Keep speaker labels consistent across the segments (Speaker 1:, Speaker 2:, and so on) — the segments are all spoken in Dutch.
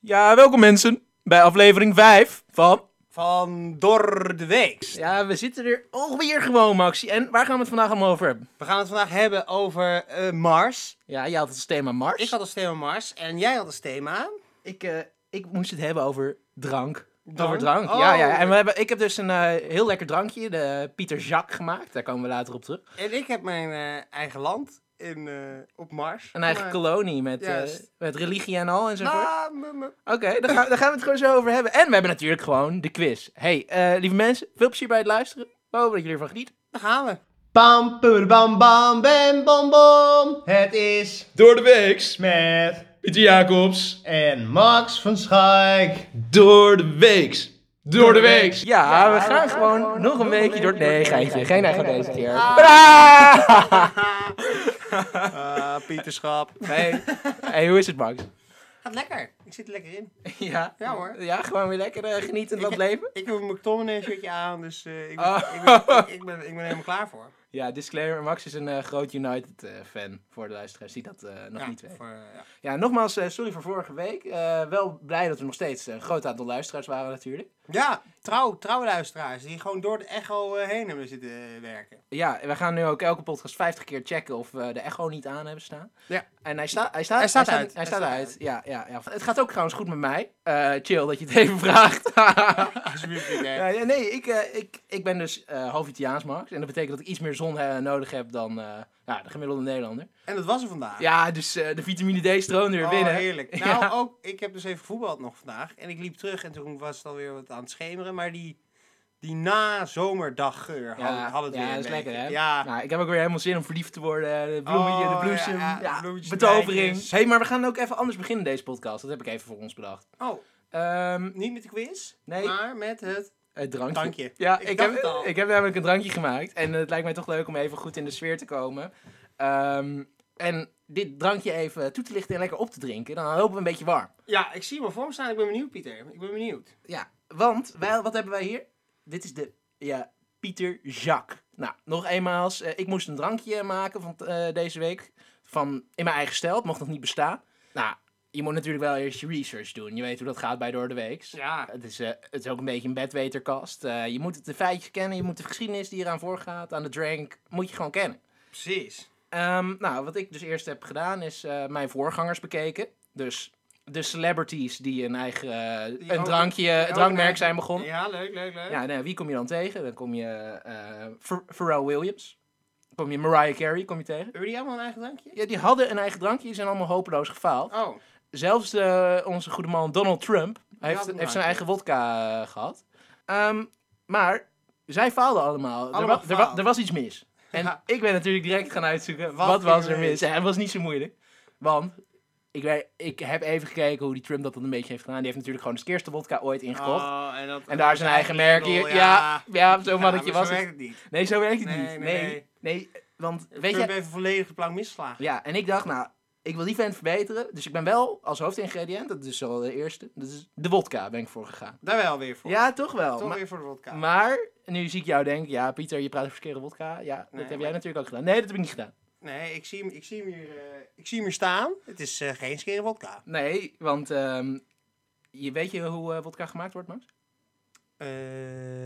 Speaker 1: Ja, welkom mensen bij aflevering 5 van...
Speaker 2: Van Door de Week.
Speaker 1: Ja, we zitten er alweer gewoon, Maxi. En waar gaan we het vandaag allemaal over hebben?
Speaker 2: We gaan het vandaag hebben over eh, Mars.
Speaker 1: Ja, jij had het thema Mars.
Speaker 2: Ik had als thema Mars en jij had als thema...
Speaker 1: ik, eh, ik moest het hebben over drank.
Speaker 2: Drank?
Speaker 1: Over drank,
Speaker 2: Oh.
Speaker 1: ja, ja. En we hebben, ik heb dus een eh, heel lekker drankje, de Pieter Jacques, gemaakt. Daar komen we later op terug.
Speaker 2: En ik heb mijn eh, eigen land in, eh, op Mars.
Speaker 1: Een eigen
Speaker 2: Maar-
Speaker 1: kolonie met, eh,
Speaker 2: Juist.
Speaker 1: met religie en al enzovoort.
Speaker 2: Nou, m- m-
Speaker 1: Oké, daar, gaan- daar gaan we het gewoon zo over hebben. En we hebben natuurlijk gewoon de quiz. hey, eh, lieve mensen, veel plezier bij het luisteren. We hopen dat jullie ervan genieten.
Speaker 2: daar gaan we.
Speaker 3: Bam, pum, bam, bam, bam, bam, bam. Het is
Speaker 4: Door de weeks,
Speaker 3: met
Speaker 4: Pieter Jacobs.
Speaker 3: en Max van Schaik.
Speaker 4: Door de weeks. Door de weeks.
Speaker 1: Ja, we gaan, gewoon, nog een weekje door... Nee, geintje. Geen echo deze keer.
Speaker 2: Ah, Pieterschap.
Speaker 1: Hey. hey, hoe is het, Max?
Speaker 2: Gaat lekker. Ik zit er lekker in.
Speaker 1: Ja.
Speaker 2: Ja, hoor.
Speaker 1: Ja, gewoon weer lekker eh, genieten van het leven.
Speaker 2: Ik heb mijn Tom shirtje aan, dus eh, ik, ben,
Speaker 1: Ah.
Speaker 2: ik, ben, ik, ik ben, ik ben helemaal klaar voor.
Speaker 1: Ja, disclaimer. Max is een eh, groot United-fan voor de luisteraars die dat eh, nog
Speaker 2: Ja,
Speaker 1: niet weten.
Speaker 2: voor, eh, ja.
Speaker 1: Ja, nogmaals, eh, sorry voor vorige week. Eh, wel blij dat er nog steeds eh, een groot aantal luisteraars waren natuurlijk.
Speaker 2: Ja, trouw, trouwe luisteraars die gewoon door de echo eh, heen hebben zitten eh, werken.
Speaker 1: Ja, we gaan nu ook elke podcast 50 keer checken of we de echo niet aan hebben staan.
Speaker 2: Ja.
Speaker 1: En hij, staat hij, staat,
Speaker 2: Hij staat uit.
Speaker 1: Hij staat uit. Ja, ja, ja. Het gaat ook trouwens goed met mij. Eh, chill dat je het even vraagt.
Speaker 2: Alsjeblieft, niet, hè.
Speaker 1: Ja, ja, nee, ik, eh, ik, ik ben dus eh, half Italiaans, Max. En dat betekent dat ik iets meer zon eh, nodig heb dan eh, ja, de gemiddelde Nederlander.
Speaker 2: En dat was er vandaag.
Speaker 1: Ja, dus eh, de vitamine D stroomde weer
Speaker 2: Oh,
Speaker 1: binnen.
Speaker 2: heerlijk.
Speaker 1: Ja.
Speaker 2: Nou, ook, ik heb dus even voetbald nog vandaag. En ik liep terug en toen was het alweer wat aan het schemeren. Maar die, die na-zomerdaggeur had,
Speaker 1: Ja,
Speaker 2: had het
Speaker 1: ja,
Speaker 2: weer
Speaker 1: dat
Speaker 2: een
Speaker 1: is lekker,
Speaker 2: beetje.
Speaker 1: hè?
Speaker 2: Ja,
Speaker 1: Nou, ik heb ook weer helemaal zin om verliefd te worden. De bloemie,
Speaker 2: Oh,
Speaker 1: de bloesem,
Speaker 2: ja,
Speaker 1: ja,
Speaker 2: ja, bloemetjes,
Speaker 1: betovering.
Speaker 2: bijtjes.
Speaker 1: hey, maar we gaan ook even anders beginnen deze podcast. Dat heb ik even voor ons bedacht.
Speaker 2: oh,
Speaker 1: Ehm,
Speaker 2: niet met de quiz,
Speaker 1: Nee.
Speaker 2: maar met het...
Speaker 1: het drankje.
Speaker 2: Drankje.
Speaker 1: Ja, ik,
Speaker 2: Ik dacht
Speaker 1: heb,
Speaker 2: het al.
Speaker 1: ik heb namelijk een drankje gemaakt. En het lijkt mij toch leuk om even goed in de sfeer te komen. Ehm, en dit drankje even toe te lichten en lekker op te drinken. Dan hopen we een beetje warm.
Speaker 2: Ja, ik zie hem al voor me staan. Ik ben benieuwd, Pieter. Ik ben benieuwd.
Speaker 1: Ja, want wij, wat hebben wij hier? Dit is de ja, Pieter Jacques. Nou, nog eenmaal. eh, ik moest een drankje maken van eh, deze week. Van in mijn eigen stijl. Het mocht nog niet bestaan. Nou, je moet natuurlijk wel eerst je research doen. Je weet hoe dat gaat bij Door de Weeks.
Speaker 2: Ja.
Speaker 1: Het is, eh, het is ook een beetje een bedweterkast. Eh, je moet de feitjes kennen. Je moet de geschiedenis die eraan voorgaat. Aan de drank. Moet je gewoon kennen.
Speaker 2: Precies.
Speaker 1: Ehm, nou, wat ik dus eerst heb gedaan is eh, mijn voorgangers bekeken. Dus de celebrities die een eigen eh,
Speaker 2: Die
Speaker 1: een
Speaker 2: ook-
Speaker 1: drankje,
Speaker 2: die
Speaker 1: een
Speaker 2: ook
Speaker 1: drankmerk
Speaker 2: een-
Speaker 1: zijn begonnen. Ja,
Speaker 2: Ja, leuk, leuk, leuk.
Speaker 1: nou, wie kom je dan tegen? Dan kom je eh Ph- Pharrell Williams. Kom je Mariah Carey kom je tegen.
Speaker 2: Hebben die allemaal een eigen drankje?
Speaker 1: Ja, die hadden een eigen drankje, die zijn allemaal hopeloos gefaald.
Speaker 2: Oh,
Speaker 1: Zelfs eh, onze goede man Donald Trump
Speaker 2: had
Speaker 1: heeft,
Speaker 2: een
Speaker 1: heeft zijn
Speaker 2: drankje.
Speaker 1: eigen wodka eh, gehad. Ehm, maar zij faalden allemaal. Er
Speaker 2: Allemaal
Speaker 1: wa- er, wa-
Speaker 2: gefaald.
Speaker 1: er was iets mis. En
Speaker 2: Ja.
Speaker 1: ik ben natuurlijk direct gaan uitzoeken wat,
Speaker 2: Wat
Speaker 1: was
Speaker 2: ging
Speaker 1: er
Speaker 2: er mis?
Speaker 1: mis. Ja, het was niet zo moeilijk. Want ik, weet- ik heb even gekeken hoe die Trump dat dan een beetje heeft gedaan. Die heeft natuurlijk gewoon de skeerste wodka ooit ingekocht.
Speaker 2: Oh, en, dat,
Speaker 1: en daar zijn eigen merk hier. Ja,
Speaker 2: label,
Speaker 1: ja,
Speaker 2: Ja,
Speaker 1: zo'n
Speaker 2: maar
Speaker 1: mannetje
Speaker 2: zo
Speaker 1: was
Speaker 2: werkt
Speaker 1: het.
Speaker 2: het niet.
Speaker 1: Nee, zo werkt het
Speaker 2: Nee,
Speaker 1: niet.
Speaker 2: nee,
Speaker 1: Nee, nee.
Speaker 2: nee.
Speaker 1: want
Speaker 2: Weet
Speaker 1: weet
Speaker 2: je...
Speaker 1: je,
Speaker 2: hebt even volledig de plank misgeslagen.
Speaker 1: ja, en ik dacht, nou, ik wil die vent verbeteren. Dus ik ben wel als hoofdingrediënt, dat is al de eerste, dat is de wodka ben ik voor gegaan.
Speaker 2: Daar wel weer voor.
Speaker 1: Ja, toch wel.
Speaker 2: Toch
Speaker 1: maar,
Speaker 2: weer voor de vodka.
Speaker 1: maar nu zie ik jou denken, ja Pieter, je praat over verkeerde wodka. Ja, dat
Speaker 2: Nee,
Speaker 1: heb jij
Speaker 2: maar-
Speaker 1: natuurlijk ook gedaan. Nee, dat heb ik niet gedaan.
Speaker 2: Nee, ik zie hem, ik zie hem, hier, eh, ik zie hem hier staan. Het is eh, geen skere vodka.
Speaker 1: Nee, want ehm, je weet je hoe eh, wodka gemaakt wordt, Max?
Speaker 2: Eh,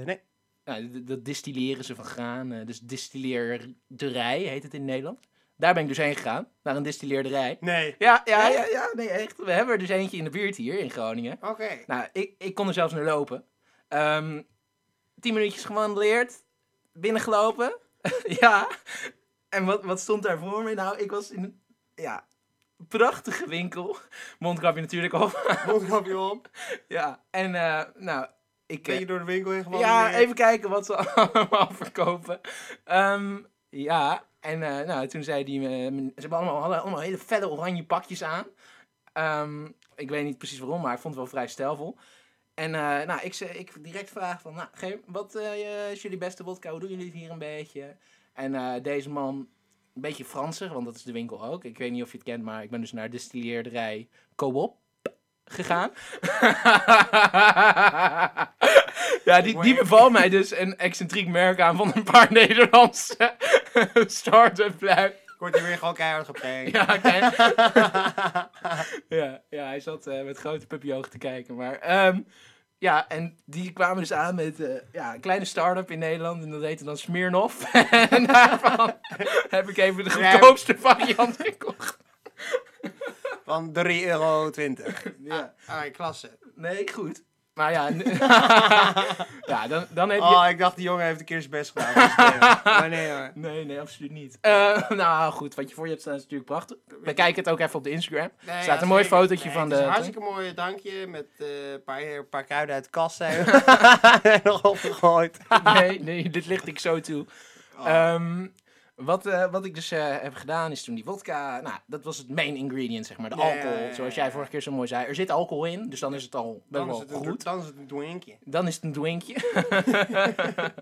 Speaker 2: nee.
Speaker 1: Nou, d- dat distilleren ze van graan. eh, dus distilleerderij heet het in Nederland. Daar ben ik dus heen gegaan, naar een distilleerderij.
Speaker 2: Nee.
Speaker 1: Ja, ja, ja, ja, nee, echt. We hebben er dus eentje in de buurt hier in Groningen.
Speaker 2: Oké.
Speaker 1: Nou, ik, ik kon er zelfs naar lopen. Ehm tien minuutjes gewandeleerd, binnengelopen. ja. En wat, wat stond daar voor me? Nou, ik was in een ja, prachtige winkel. Mondkapje natuurlijk op.
Speaker 2: Mondkapje op.
Speaker 1: ja. En eh, nou, ik... eh,
Speaker 2: Beetje door de winkel heen gewandeld.
Speaker 1: ja, even kijken wat ze allemaal verkopen. Ehm, ja, en eh, nou, toen zei die... eh, men- ze hebben allemaal, hadden allemaal hele felle oranje pakjes aan. Ehm, ik weet niet precies waarom, maar ik vond het wel vrij stijlvol. En eh, nou, ik, ze- ik direct vraag van... Nou, Geem, wat eh, is jullie beste wodka? Hoe doen jullie het hier een beetje? En eh, deze man, een beetje Fransig, want dat is de winkel ook. Ik weet niet of je het kent, maar ik ben dus naar distilleerderij Coop gegaan. ja, die, die beval mij dus een excentriek merk aan van een paar Nederlandse start-up lui.
Speaker 2: Wordt hij weer gewoon keihard geprankt.
Speaker 1: Ja, oké. ja, ja, hij zat eh, met grote puppyogen te kijken. Maar ehm, ja, en die kwamen dus aan met eh, ja, een kleine start-up in Nederland. En dat heette dan Smirnoff. en daarvan heb ik even de
Speaker 2: Ja.
Speaker 1: goedkoopste variant gekocht.
Speaker 2: Van 3,20 euro.
Speaker 1: Ja.
Speaker 2: Ah, klasse.
Speaker 1: Nee, goed. Maar ja, n- ja dan, dan heb je...
Speaker 2: Oh, ik dacht die jongen heeft een keer zijn best gedaan. maar nee hoor.
Speaker 1: Nee, nee, absoluut niet. Eh, nou goed, wat je voor je hebt staan is natuurlijk prachtig. We kijken het ook even op de Instagram.
Speaker 2: Nee,
Speaker 1: Er staat
Speaker 2: ja,
Speaker 1: een mooi
Speaker 2: zeker.
Speaker 1: fotootje
Speaker 2: Nee,
Speaker 1: van
Speaker 2: het
Speaker 1: de...
Speaker 2: is een hartstikke mooi dankje met eh, een paar, een paar kruiden uit de kast zijn we- en nog opgegooid.
Speaker 1: Eh,
Speaker 2: Oh.
Speaker 1: nee, nee, dit licht ik zo toe. Ehm, wat, eh, wat ik dus eh, heb gedaan is toen die vodka... Nou, dat was het main ingredient, zeg maar. De
Speaker 2: Ja, ja,
Speaker 1: alcohol,
Speaker 2: ja, ja,
Speaker 1: zoals jij
Speaker 2: ja.
Speaker 1: vorige keer zo mooi zei. Er zit alcohol in, dus dan is het al best
Speaker 2: Dan is
Speaker 1: wel
Speaker 2: het een,
Speaker 1: goed.
Speaker 2: dan is het een drinkje.
Speaker 1: Dan is het een drinkje.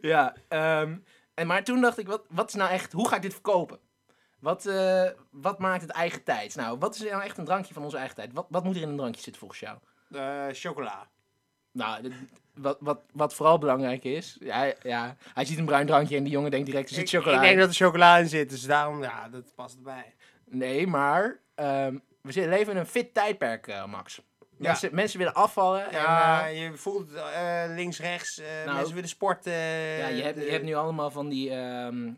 Speaker 1: ja, ehm, en, maar toen dacht ik, wat, wat is nou echt... Hoe ga ik dit verkopen? Wat, eh, wat maakt het eigen tijd? Nou, wat is nou echt een drankje van onze eigen tijd? Wat, wat moet er in een drankje zitten volgens jou?
Speaker 2: Eh, chocola.
Speaker 1: Nou, dit- wat, wat, wat vooral belangrijk is. Ja, hij- ja, hij ziet een bruin drankje en die jongen denkt direct: er zit
Speaker 2: Ik,
Speaker 1: chocola.
Speaker 2: ik
Speaker 1: in.
Speaker 2: denk dat er chocola in zit, dus daarom, ja, dat past erbij.
Speaker 1: Nee, maar ehm, we zitten- leven in een fit tijdperk, eh, Max.
Speaker 2: Ja.
Speaker 1: Mensen, mensen willen afvallen. En,
Speaker 2: Ja,
Speaker 1: eh,
Speaker 2: je voelt eh, links, rechts, eh,
Speaker 1: Nou,
Speaker 2: mensen willen sporten.
Speaker 1: ja, je, hebt, je
Speaker 2: eh,
Speaker 1: hebt nu allemaal van die ehm,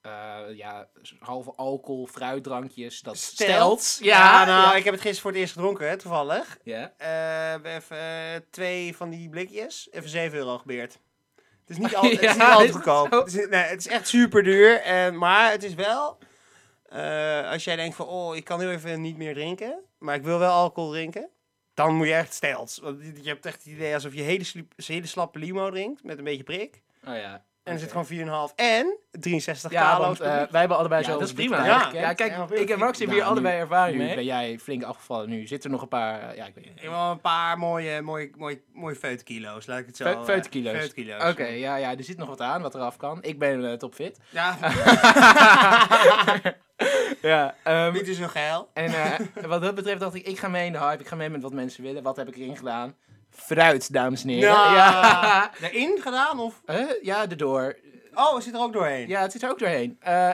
Speaker 1: eh, ja, halve alcohol, fruitdrankjes. Dat stelt.
Speaker 2: Stelt.
Speaker 1: Ja,
Speaker 2: Ja, nou,
Speaker 1: ja.
Speaker 2: ik heb het gisteren voor het eerst gedronken, hè, toevallig.
Speaker 1: Ja.
Speaker 2: Eh, we even eh, twee van die blikjes. Even 7 euro gebeerd. Het is niet, al, het is niet
Speaker 1: Ja,
Speaker 2: al
Speaker 1: is
Speaker 2: te
Speaker 1: het
Speaker 2: goedkoop.
Speaker 1: zo?
Speaker 2: Het is, nee, het is echt super duur. En, maar het is wel... eh, als jij denkt van, oh, ik kan nu even niet meer drinken. Maar ik wil wel alcohol drinken. Dan moet je echt stels. Want je je hebt echt het idee alsof je hele, sliep- hele slappe limo drinkt. Met een beetje prik.
Speaker 1: Oh ja.
Speaker 2: En er
Speaker 1: Oké.
Speaker 2: zit gewoon 4,5 en 63
Speaker 1: Ja,
Speaker 2: kalo's
Speaker 1: want
Speaker 2: per
Speaker 1: eh,
Speaker 2: uur.
Speaker 1: wij hebben allebei
Speaker 2: Ja,
Speaker 1: zo.
Speaker 2: dat is prima.
Speaker 1: Ja,
Speaker 2: Ja,
Speaker 1: ja, kijk,
Speaker 2: ja,
Speaker 1: ik en Max hebben hier
Speaker 2: nou, nu-
Speaker 1: allebei ervaring
Speaker 2: nu
Speaker 1: mee. ben
Speaker 2: ben
Speaker 1: jij flink afgevallen. Nu zitten er nog een paar... ja, ik weet
Speaker 2: eh, Ik heb wel een paar mooie, mooie, mooie, mooie feutkilo's, laat ik het zo
Speaker 1: Fe-
Speaker 2: eh,
Speaker 1: feutkilo's.
Speaker 2: feutkilo's.
Speaker 1: Oké, ja, ja, er zit nog wat aan wat eraf kan. Ik ben eh, topfit.
Speaker 2: Ja,
Speaker 1: ja, ehm,
Speaker 2: dit is zo geil.
Speaker 1: en eh, wat dat betreft dacht ik, ik ga mee in de hype. Ik ga mee met wat mensen willen. Wat heb ik erin gedaan? Fruit, dames en heren.
Speaker 2: Nou,
Speaker 1: Ja.
Speaker 2: Erin gedaan of?
Speaker 1: Eh, ja, erdoor.
Speaker 2: Oh, het zit er ook doorheen.
Speaker 1: Ja, het zit er ook doorheen. Eh,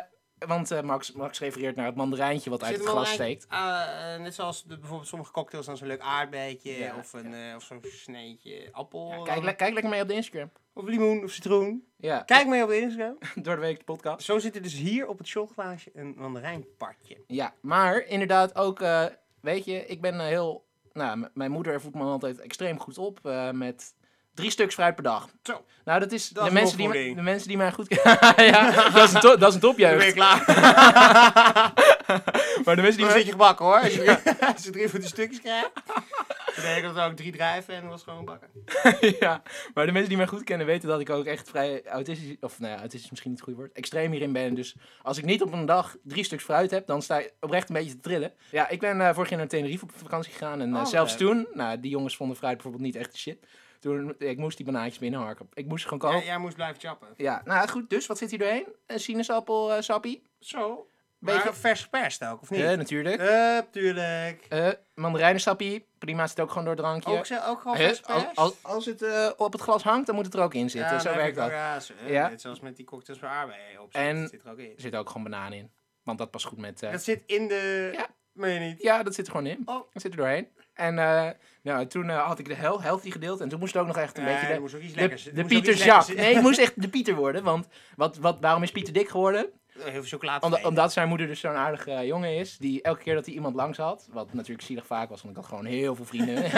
Speaker 1: want eh, Max, Max refereert naar het mandarijntje wat
Speaker 2: Er
Speaker 1: uit
Speaker 2: zit
Speaker 1: het
Speaker 2: wel
Speaker 1: glas
Speaker 2: een-
Speaker 1: steekt.
Speaker 2: ah, eh, net zoals de, bijvoorbeeld sommige cocktails dan zo'n leuk aardbeidje
Speaker 1: Ja,
Speaker 2: of, een, eh, of zo'n sneetje appel.
Speaker 1: Ja,
Speaker 2: dan-
Speaker 1: kijk, le- kijk lekker mee op de Instagram.
Speaker 2: of limoen of citroen.
Speaker 1: Ja,
Speaker 2: Oh. Kijk mee op de Instagram.
Speaker 1: door de week de podcast.
Speaker 2: Zo zit er dus hier op het shotglaasje een mandarijnpartje.
Speaker 1: Ja, maar inderdaad ook, eh, weet je, ik ben eh, heel... Nou, m- mijn moeder voedt me altijd extreem goed op eh, met drie stuks fruit per dag.
Speaker 2: Zo.
Speaker 1: Nou, dat is,
Speaker 2: Dat
Speaker 1: de,
Speaker 2: is
Speaker 1: mensen die,
Speaker 2: opvoeding.
Speaker 1: me- de mensen die mij goed kennen. ja, dat is een, to- dat is een
Speaker 2: Dan ben je
Speaker 1: topjeugd.
Speaker 2: klaar.
Speaker 1: Maar de mensen die
Speaker 2: Dan
Speaker 1: mij-
Speaker 2: zit je gebakken hoor. Als je, als je drie voor de stukjes krijgt. Dan deed ik dat ook drie drijven en dan was het gewoon bakken.
Speaker 1: ja, maar de mensen die mij goed kennen weten dat ik ook echt vrij autistisch, of nou ja, autistisch is misschien niet het goede woord, extreem hierin ben. Dus als ik niet op een dag drie stuks fruit heb, dan sta ik oprecht een beetje te trillen. Ja, ik ben eh vorig jaar naar Tenerife op vakantie gegaan en eh,
Speaker 2: Oh,
Speaker 1: zelfs
Speaker 2: leuk.
Speaker 1: toen, nou, die jongens vonden fruit bijvoorbeeld niet echt de shit. Toen, ik moest die banaantjes binnenharken. Ik moest ze gewoon
Speaker 2: Jij,
Speaker 1: kopen. Ja,
Speaker 2: jij moest blijven chappen.
Speaker 1: nou goed, dus wat zit hier doorheen? Een sinaasappel, eh, sappie?
Speaker 2: Zo.
Speaker 1: Beetje-
Speaker 2: Maar vers geperst ook, of niet?
Speaker 1: Eh, natuurlijk. Eh
Speaker 2: Eh, tuurlijk.
Speaker 1: mandarijnensappie, prima, zit ook gewoon door het drankje.
Speaker 2: Ook, ze- ook gewoon
Speaker 1: Eh,
Speaker 2: vers
Speaker 1: als,
Speaker 2: geperst?
Speaker 1: als, als het eh, op het glas hangt, dan moet het er ook in
Speaker 2: Ja,
Speaker 1: zitten. Zo
Speaker 2: dan heb
Speaker 1: werkt
Speaker 2: ik ook-
Speaker 1: dat.
Speaker 2: Ja, zo- eh,
Speaker 1: Ja.
Speaker 2: net zoals met die cocktails waar aardbeien op
Speaker 1: En-
Speaker 2: zit. zit er ook in.
Speaker 1: Er zit ook gewoon banaan in. Want dat past goed met. eh,
Speaker 2: Dat zit in de...
Speaker 1: Ja.
Speaker 2: Meen je niet?
Speaker 1: Ja, dat zit er gewoon in.
Speaker 2: Oh.
Speaker 1: Dat zit er doorheen. En eh, nou, toen eh, had ik de hel healthy gedeeld. En toen moest het ook nog echt een
Speaker 2: Nee,
Speaker 1: beetje.
Speaker 2: er
Speaker 1: De,
Speaker 2: moest ook iets
Speaker 1: de-
Speaker 2: lekkers- er
Speaker 1: de
Speaker 2: moest ook
Speaker 1: Pieter
Speaker 2: iets lekkers
Speaker 1: Jacques. Nee, het moest echt de Pieter worden. Want wat, wat, waarom is Pieter dik geworden?
Speaker 2: Oh, Heel veel chocolade
Speaker 1: Omdat,
Speaker 2: eten.
Speaker 1: omdat zijn moeder dus zo'n aardige eh, jongen is. Die elke keer dat hij iemand langs had. Wat natuurlijk zielig vaak was, want ik had gewoon heel veel vrienden.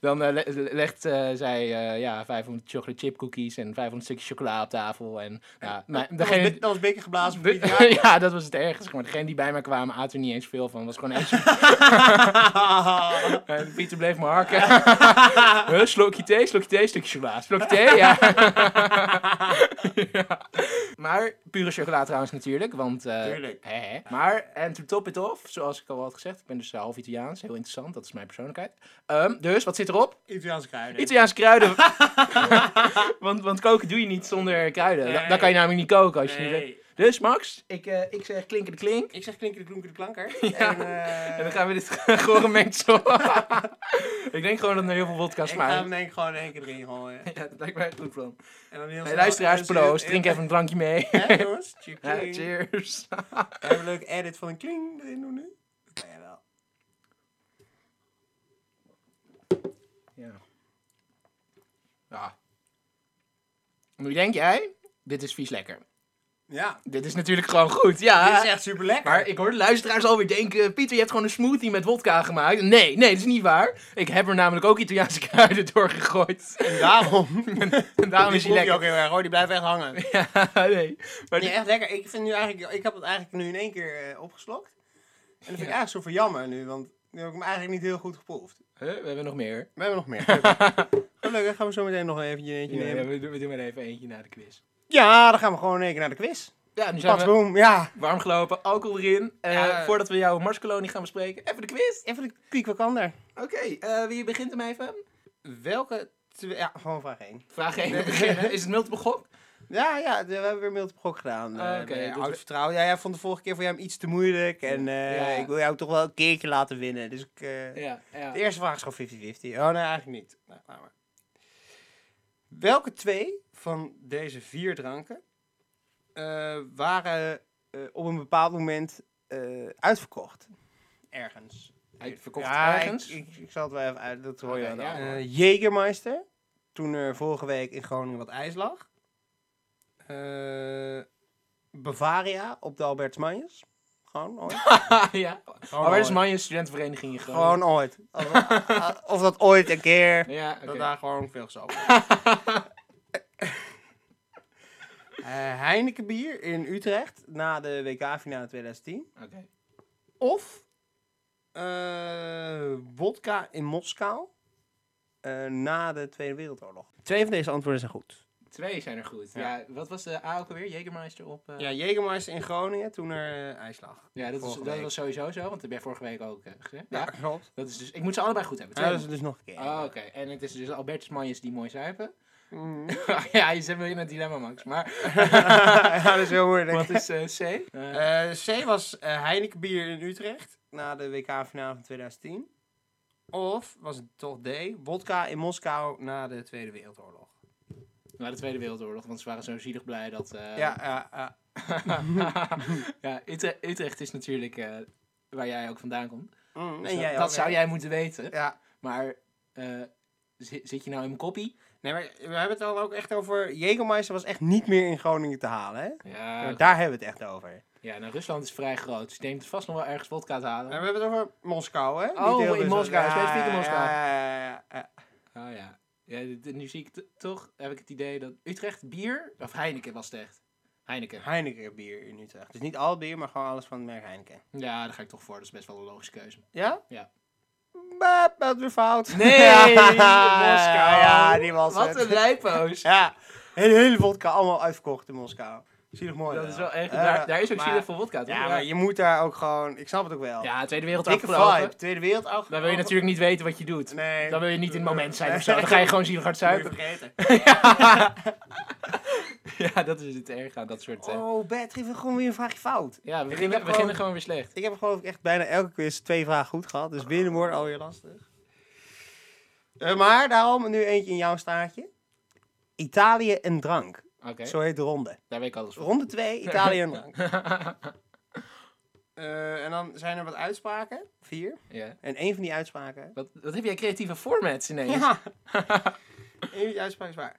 Speaker 1: dan eh, le- le- legt eh, zij eh, ja, 500 chocolate chip cookies en 500 stukjes chocola op tafel. En, ja, maar
Speaker 2: Dat was,
Speaker 1: degene-
Speaker 2: bi- dat was bikken geblazen. voor
Speaker 1: De-
Speaker 2: Pieter Jacques.
Speaker 1: ja, dat was het ergste. zeg Maar degene die bij mij kwamen aten er niet eens veel van. Het was gewoon één stuk. En Pieter bleef maar harken. Huh, slokje thee, slokje thee, stukje chocola. Slokje thee, ja. Ja. Maar pure chocola trouwens natuurlijk, want... eh,
Speaker 2: Tuurlijk.
Speaker 1: hè, hè. Maar, en to top it off, zoals ik al had gezegd, ik ben dus half Italiaans. Heel interessant, dat is mijn persoonlijkheid. Ehm, dus, wat zit erop?
Speaker 2: Italiaanse kruiden.
Speaker 1: Italiaanse kruiden. want, want koken doe je niet zonder kruiden. Da-
Speaker 2: Nee.
Speaker 1: Dan kan je namelijk niet koken als je niet...
Speaker 2: Nee.
Speaker 1: Dus Max, ik, eh, ik zeg klinker de klink.
Speaker 2: Ik zeg klinkende kloenkende klanker.
Speaker 1: Ja.
Speaker 2: En, eh,
Speaker 1: En dan gaan we dit gore mengsel Ik denk gewoon dat er heel veel vodka
Speaker 2: Ik ga hem
Speaker 1: smaakt.
Speaker 2: denk ik gewoon in één keer erin gooien.
Speaker 1: Ja, dat lijkt mij een goed plan.
Speaker 2: En dan heel
Speaker 1: Hey,
Speaker 2: snel-
Speaker 1: luisteraars,
Speaker 2: en dan
Speaker 1: proost.
Speaker 2: zie je-
Speaker 1: Drink even een drankje mee.
Speaker 2: Hè, jongens? Tjie,
Speaker 1: Ja,
Speaker 2: tjie.
Speaker 1: cheers.
Speaker 2: We hebben een leuk edit van een kling erin doen nu. Nou, jawel.
Speaker 1: Ja. ja. Nu denk jij, dit is vies lekker.
Speaker 2: Ja,
Speaker 1: Dit is natuurlijk gewoon goed, ja.
Speaker 2: dit is echt super lekker.
Speaker 1: Maar ik hoor de luisteraars alweer denken, Pieter, je hebt gewoon een smoothie met wodka gemaakt. Nee, nee, dat is niet waar. Ik heb er namelijk ook Italiaanse kruiden doorgegooid.
Speaker 2: En daarom.
Speaker 1: En daarom is hij
Speaker 2: die proef je
Speaker 1: lekker.
Speaker 2: ook heel erg hoor, die blijft echt hangen.
Speaker 1: Ja, nee. Maar
Speaker 2: Nee, echt lekker. Ik, vind nu eigenlijk, ik heb het eigenlijk nu in één keer eh, opgeslokt. En dat vind ik eigenlijk super jammer nu, want nu heb ik hem eigenlijk niet heel goed geproefd.
Speaker 1: Huh, we hebben nog meer.
Speaker 2: We hebben nog meer. Gelukkig, Gelukkig gaan we zo meteen nog eventjes eentje
Speaker 1: Ja,
Speaker 2: nemen.
Speaker 1: we, doen, we doen maar even eentje na de quiz.
Speaker 2: Ja, dan gaan we gewoon in één keer naar de quiz.
Speaker 1: Ja, nu zijn
Speaker 2: Pats,
Speaker 1: we
Speaker 2: boom, ja.
Speaker 1: warm gelopen, alcohol erin. Eh,
Speaker 2: Ja.
Speaker 1: Voordat we jouw Marskolonie gaan bespreken, even de quiz.
Speaker 2: Even de piek wakander.
Speaker 1: Oké, eh, wie begint hem even?
Speaker 2: Welke... twee- Ja, gewoon vraag 1.
Speaker 1: Vraag 1 beginnen. Is het multiple gok?
Speaker 2: Ja, ja, we hebben weer Milt op gok gedaan.
Speaker 1: Ah,
Speaker 2: Eh
Speaker 1: oké,
Speaker 2: bij
Speaker 1: dus
Speaker 2: oud
Speaker 1: we-
Speaker 2: vertrouwen. Ja, jij vond de vorige keer voor jou hem iets te moeilijk. En eh,
Speaker 1: Ja.
Speaker 2: ik wil jou toch wel een keertje laten winnen. Dus ik... eh,
Speaker 1: Ja, ja.
Speaker 2: De eerste vraag is gewoon 50-50. Oh, nee, eigenlijk niet. Nou, laat maar. Welke twee van deze vier dranken eh, waren eh, op een bepaald moment eh, uitverkocht? Ergens.
Speaker 1: Uitverkocht
Speaker 2: Ja, ik-
Speaker 1: ergens?
Speaker 2: Ik, ik, zal het wel even uit, dat hoor je
Speaker 1: Oké,
Speaker 2: wel.
Speaker 1: ja, hoor.
Speaker 2: Eh, Jägermeister, toen er vorige week in Groningen wat ijs lag. Eh, Bavaria op de Alberts Manjes. Gewoon ooit.
Speaker 1: Ah, ja. Maar
Speaker 2: Gewoon
Speaker 1: waar is
Speaker 2: ooit.
Speaker 1: Manje studentenvereniging in Groningen?
Speaker 2: Gewoon ooit. Of- Of dat ooit een keer.
Speaker 1: Ja, oké.
Speaker 2: Dat daar gewoon veel zalf. Heineken bier Eh, in Utrecht na de WK-finale 2010.
Speaker 1: Oké.
Speaker 2: Of eh wodka in Moskou eh, na de Tweede Wereldoorlog. Twee van deze antwoorden zijn goed.
Speaker 1: Twee zijn er goed. Ja.
Speaker 2: Ja.
Speaker 1: wat was de A ook alweer? Jägermeister op... eh,
Speaker 2: Ja, Jägermeister in Groningen toen er eh, ijs lag.
Speaker 1: Ja, dat, is,
Speaker 2: Vorige
Speaker 1: dat
Speaker 2: week.
Speaker 1: was sowieso zo, want dat heb jij vorige week ook eh, gezegd. Ja.
Speaker 2: klopt.
Speaker 1: Dat is dus, ik moet ze allebei goed hebben.
Speaker 2: Ja,
Speaker 1: Twee.
Speaker 2: dat is dus nog een keer.
Speaker 1: Ah, Oké, en het is dus Albertus Manjes die mooi zuipen.
Speaker 2: Mhm.
Speaker 1: ja, je zit wel in het dilemma, Max. Maar
Speaker 2: ja, dat is heel moeilijk.
Speaker 1: wat is eh, C? Eh,
Speaker 2: Eh, C was eh Heineken bier in Utrecht na de WK-finale van 2010. Of was het toch D, wodka in Moskou na de Tweede Wereldoorlog.
Speaker 1: na de Tweede Wereldoorlog, want ze waren zo zielig blij dat... eh,
Speaker 2: Ja, ja, ja.
Speaker 1: ja, Utre- Utrecht is natuurlijk eh, waar jij ook vandaan komt.
Speaker 2: Mm, en
Speaker 1: Dus dat
Speaker 2: jij
Speaker 1: dat
Speaker 2: ook,
Speaker 1: zou
Speaker 2: hè?
Speaker 1: jij moeten weten.
Speaker 2: Ja.
Speaker 1: Maar eh, zi- zit je nou in mijn koppie?
Speaker 2: Nee, maar we hebben het dan ook echt over... Jägermeister was echt niet meer in Groningen te halen, hè?
Speaker 1: Ja,
Speaker 2: Maar Daar hebben we het echt over.
Speaker 1: ja nou, Rusland is vrij groot. Dus ik denk dat vast nog wel ergens vodka te halen.
Speaker 2: Maar we hebben het over Moskou, hè?
Speaker 1: Oh,
Speaker 2: Niet heel
Speaker 1: in
Speaker 2: Rusland.
Speaker 1: Moskou,
Speaker 2: Ja,
Speaker 1: specifiek in
Speaker 2: ja,
Speaker 1: Moskou.
Speaker 2: Ja, ja, ja, ja.
Speaker 1: Oh ja. ja dit- dit- nu zie ik t- toch, heb ik het idee dat Utrecht bier, of Heineken was het echt. Heineken.
Speaker 2: Heineken bier in Utrecht. Dus niet al bier, maar gewoon alles van het merk Heineken.
Speaker 1: Ja, daar ga ik toch voor. Dat is best wel een logische keuze.
Speaker 2: Ja?
Speaker 1: Ja.
Speaker 2: Bah, dat weer fout.
Speaker 1: Nee, Moskou.
Speaker 2: Ja, die was
Speaker 1: Wat
Speaker 2: het.
Speaker 1: een lijpoos.
Speaker 2: Ja, hele, hele vodka allemaal uitverkocht in Moskou. Zielig mooi.
Speaker 1: Dat is wel echt,
Speaker 2: Eh,
Speaker 1: daar, daar is ook
Speaker 2: maar-
Speaker 1: zielig voor vodka, toch?
Speaker 2: Ja, maar je moet daar ook gewoon... Ik snap het ook wel.
Speaker 1: Ja, Tweede Wereldoorlog
Speaker 2: Dikke
Speaker 1: afgelopen.
Speaker 2: vibe. Tweede Wereld afgelopen.
Speaker 1: Dan wil je natuurlijk niet weten wat je doet.
Speaker 2: Nee.
Speaker 1: Dan wil je niet in het moment zijn of zo.
Speaker 2: Nee.
Speaker 1: Dan ga je gewoon zielig hard
Speaker 2: Moet je
Speaker 1: zuipen.
Speaker 2: vergeten.
Speaker 1: Ja, dat is het erg aan dat soort... eh,
Speaker 2: Oh, Bert, geef gewoon weer een vraagje fout.
Speaker 1: ja, we
Speaker 2: ik
Speaker 1: beginnen,
Speaker 2: heb
Speaker 1: we
Speaker 2: gewoon-
Speaker 1: beginnen gewoon weer slecht.
Speaker 2: Ik heb geloof ik echt bijna elke quiz twee vragen goed gehad. Dus winnen wordt alweer lastig. Eh, maar daarom nu eentje in jouw staartje. Italië en drank.
Speaker 1: Oké,
Speaker 2: Zo heet de ronde.
Speaker 1: daar weet ik alles van.
Speaker 2: Ronde 2, Italië en drank. Eh, en dan zijn er wat uitspraken. Vier.
Speaker 1: Ja.
Speaker 2: En één van die uitspraken.
Speaker 1: Wat, wat heb jij creatieve formats ineens?
Speaker 2: Ja. Eén van die uitspraken is waar.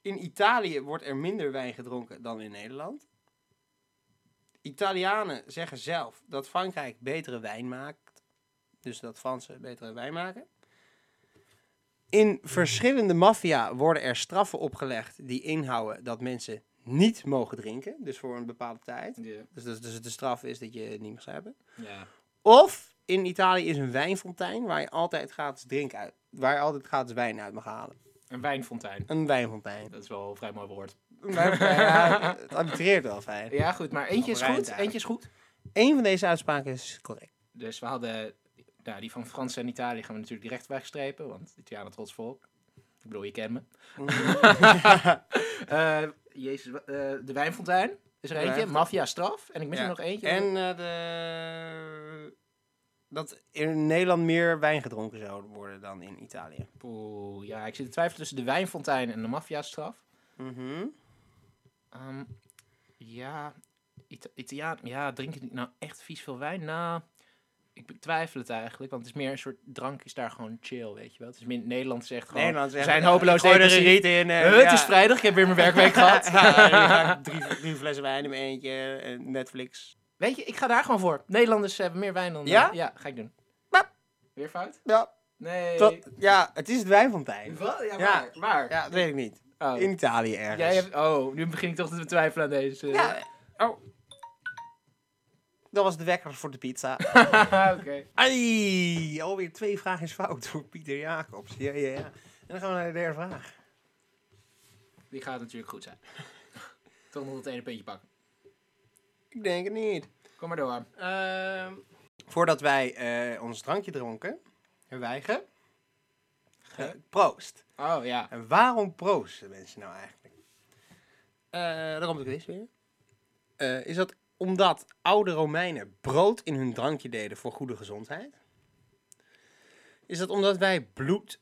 Speaker 2: In Italië wordt er minder wijn gedronken dan in Nederland. Italianen zeggen zelf dat Frankrijk betere wijn maakt. Dus dat Fransen betere wijn maken. In verschillende maffia worden er straffen opgelegd die inhouden dat mensen niet mogen drinken. Dus voor een bepaalde tijd.
Speaker 1: Ja.
Speaker 2: Dus, dat- dus de straf is dat je het niet mag hebben.
Speaker 1: ja.
Speaker 2: Of in Italië is een wijnfontein waar je altijd gratis drink uit, waar je altijd gratis wijn uit mag halen.
Speaker 1: Een wijnfontein.
Speaker 2: Een wijnfontein.
Speaker 1: Dat is wel een vrij mooi woord.
Speaker 2: Een wijnfontein, ja, het arbitreert wel fijn.
Speaker 1: Ja, goed, maar eentje
Speaker 2: Of
Speaker 1: is goed.
Speaker 2: Rijntuig.
Speaker 1: Eentje is goed.
Speaker 2: Eén van deze uitspraken is correct.
Speaker 1: Dus we hadden, nou, die van Frans en Italië gaan we natuurlijk direct wegstrepen, want Italianen trots volk. Ik bedoel, je kent me.
Speaker 2: Mm.
Speaker 1: Eh, jezus, wa- eh, de wijnfontein is er eentje.
Speaker 2: wijnfontein.
Speaker 1: Mafia straf. En ik mis
Speaker 2: Ja.
Speaker 1: er nog eentje.
Speaker 2: En eh, de dat in Nederland meer wijn gedronken zou worden dan in Italië.
Speaker 1: Poeh, ja, ik zit te twijfelen tussen de wijnfontein en de maffiastraf. Ehm, ja, Ita- Italiaan, ja, drinken die nou echt vies veel wijn? Nou, ik betwijfel het eigenlijk, want het is meer een soort drank is daar gewoon chill, weet je wel. Het is min Nederland zegt gewoon,
Speaker 2: Nederland
Speaker 1: we
Speaker 2: zegt,
Speaker 1: zijn
Speaker 2: eh,
Speaker 1: hopeloos
Speaker 2: gooi er een
Speaker 1: depressief.
Speaker 2: riet in. en
Speaker 1: Eh,
Speaker 2: ja.
Speaker 1: Het is vrijdag, ik heb weer mijn werkweek gehad.
Speaker 2: Ja, en dan drie, drie flessen wijn in mijn eentje, en Netflix.
Speaker 1: Weet je, ik ga daar gewoon voor. Nederlanders hebben meer wijn dan... eh,
Speaker 2: Ja?
Speaker 1: Ja, ga ik doen.
Speaker 2: Maar-
Speaker 1: Weer fout?
Speaker 2: Ja,
Speaker 1: Nee.
Speaker 2: dat, ja het is het wijnfontein.
Speaker 1: Wat? Ja,
Speaker 2: Ja.
Speaker 1: waar? waar?
Speaker 2: Ja, dat weet ik niet.
Speaker 1: Oh.
Speaker 2: In Italië ergens.
Speaker 1: Jij hebt, oh, nu begin ik toch te twijfelen aan deze.
Speaker 2: Ja.
Speaker 1: Oh.
Speaker 2: Dat was de wekker voor de pizza.
Speaker 1: Oké.
Speaker 2: Ai, alweer twee vragen is fout door Pieter Jacobs. Ja, ja, ja. En dan gaan we naar de derde vraag.
Speaker 1: Die gaat natuurlijk goed zijn. Toch nog dat ene puntje pakken.
Speaker 2: Ik denk het niet.
Speaker 1: Kom maar door.
Speaker 2: Ehm, voordat wij eh, ons drankje dronken, hebben wij ge... ge- proost.
Speaker 1: Oh ja.
Speaker 2: En waarom proosten mensen nou eigenlijk? Eh daar komt de quiz weer. Eh, is dat omdat oude Romeinen brood in hun drankje deden voor goede gezondheid? Is dat omdat wij bloed,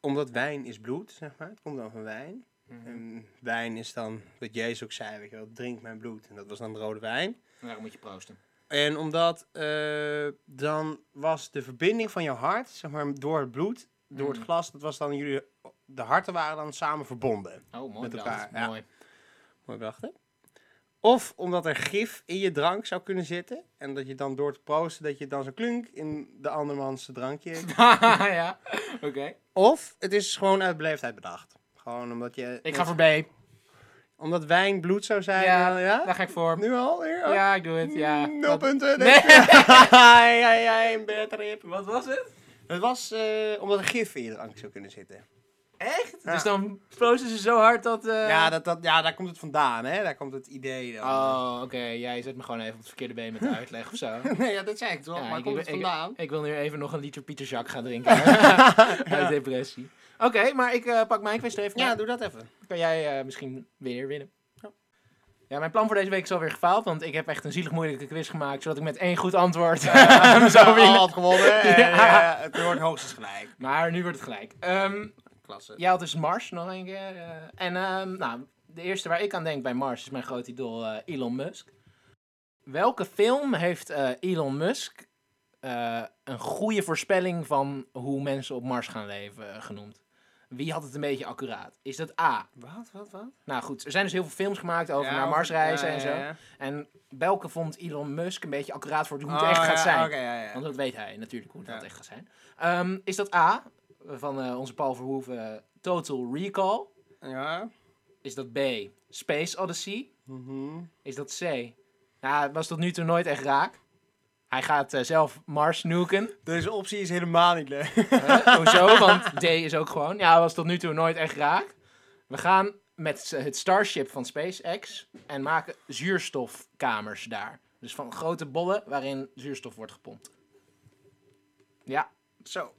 Speaker 2: omdat wijn is bloed, zeg maar, het komt dan van wijn.
Speaker 1: Hm,
Speaker 2: En wijn is dan, wat Jezus ook zei, weet je wel, drink mijn bloed. En dat was dan rode wijn.
Speaker 1: Daarom moet je proosten.
Speaker 2: En omdat eh, dan was de verbinding van jouw hart, zeg maar door het bloed, door het glas, dat was dan jullie, de harten waren dan samen verbonden.
Speaker 1: Oh, mooi
Speaker 2: Met
Speaker 1: bedacht.
Speaker 2: elkaar, ja.
Speaker 1: Mooi.
Speaker 2: Mooi bedacht, hè? Of omdat er gif in je drank zou kunnen zitten. En dat je dan door te proosten, dat je dan zo klunk in de andermans drankje.
Speaker 1: ja. Oké.
Speaker 2: of het is gewoon uit beleefdheid bedacht. Gewoon omdat je.
Speaker 1: Ik ga voor B.
Speaker 2: Omdat wijn bloed zou zijn.
Speaker 1: Ja,
Speaker 2: eh,
Speaker 1: Daar ga ik voor.
Speaker 2: Nu al? Weer? Oh,
Speaker 1: Ja, ik doe het. Ja.
Speaker 2: Nul
Speaker 1: Wat-
Speaker 2: punten.
Speaker 1: Nee.
Speaker 2: Nee. Ai, ai, ai, een bad trip.
Speaker 1: Wat was het?
Speaker 2: Het was eh, omdat er gif in je drank zou kunnen zitten.
Speaker 1: Echt?
Speaker 2: Ja.
Speaker 1: Dus dan proosten ze zo hard dat... eh,
Speaker 2: Ja, dat, dat, ja, daar komt het vandaan, hè? Daar komt het idee dan.
Speaker 1: Oh, oké. Ja, je zet me gewoon even op het verkeerde been met de uitleg of zo. Ja,
Speaker 2: Nee, ja, dat zei ik toch? maar waar
Speaker 1: ik-
Speaker 2: komt
Speaker 1: ik,
Speaker 2: het vandaan?
Speaker 1: Ik, ik wil nu even nog een liter Pieter Jacques gaan drinken. Uit depressie. Oké, maar ik eh, pak mijn quiz er even
Speaker 2: ja,
Speaker 1: bij.
Speaker 2: doe dat even.
Speaker 1: kan jij eh, misschien weer winnen.
Speaker 2: Ja.
Speaker 1: Ja, mijn plan voor deze week is alweer gefaald, want ik heb echt een zielig moeilijke quiz gemaakt, zodat ik met één goed antwoord eh, zou
Speaker 2: Al
Speaker 1: winnen.
Speaker 2: had gewonnen. En,
Speaker 1: Ja.
Speaker 2: eh, het wordt hoogstens gelijk.
Speaker 1: Maar nu wordt het gelijk. Ehm,
Speaker 2: Klasse.
Speaker 1: jij had dus Mars nog een keer. eh, en ehm, nou, de eerste waar ik aan denk bij Mars is mijn groot idool eh, Elon Musk. Welke film heeft eh, Elon Musk eh, een goede voorspelling van hoe mensen op Mars gaan leven eh, genoemd? Wie had het een beetje accuraat? Is dat A,
Speaker 2: Wat, wat, wat?
Speaker 1: Nou goed, er zijn dus heel veel films gemaakt over
Speaker 2: Ja,
Speaker 1: naar
Speaker 2: over-
Speaker 1: Mars reizen
Speaker 2: ja,
Speaker 1: en
Speaker 2: ja,
Speaker 1: zo.
Speaker 2: ja.
Speaker 1: En welke vond Elon Musk een beetje accuraat voor hoe het
Speaker 2: Oh,
Speaker 1: echt gaat
Speaker 2: ja,
Speaker 1: zijn?
Speaker 2: Oké, ja, ja.
Speaker 1: Want dat weet hij natuurlijk hoe het
Speaker 2: Ja.
Speaker 1: dat echt gaat zijn. Ehm, is dat A, van eh, onze Paul Verhoeven, eh, Total Recall?
Speaker 2: Ja.
Speaker 1: Is dat B, Space Odyssey?
Speaker 2: Mhm.
Speaker 1: Is dat C? Nou, het was tot nu toe nooit echt raak. Hij gaat eh, zelf Mars nuken.
Speaker 2: Deze optie is helemaal niet leuk.
Speaker 1: Huh? Hoezo? Want D is ook gewoon. Ja, was tot nu toe nooit echt raak. We gaan met het Starship van SpaceX en maken zuurstofkamers daar. Dus van grote bollen waarin zuurstof wordt gepompt. Ja,
Speaker 2: Zo.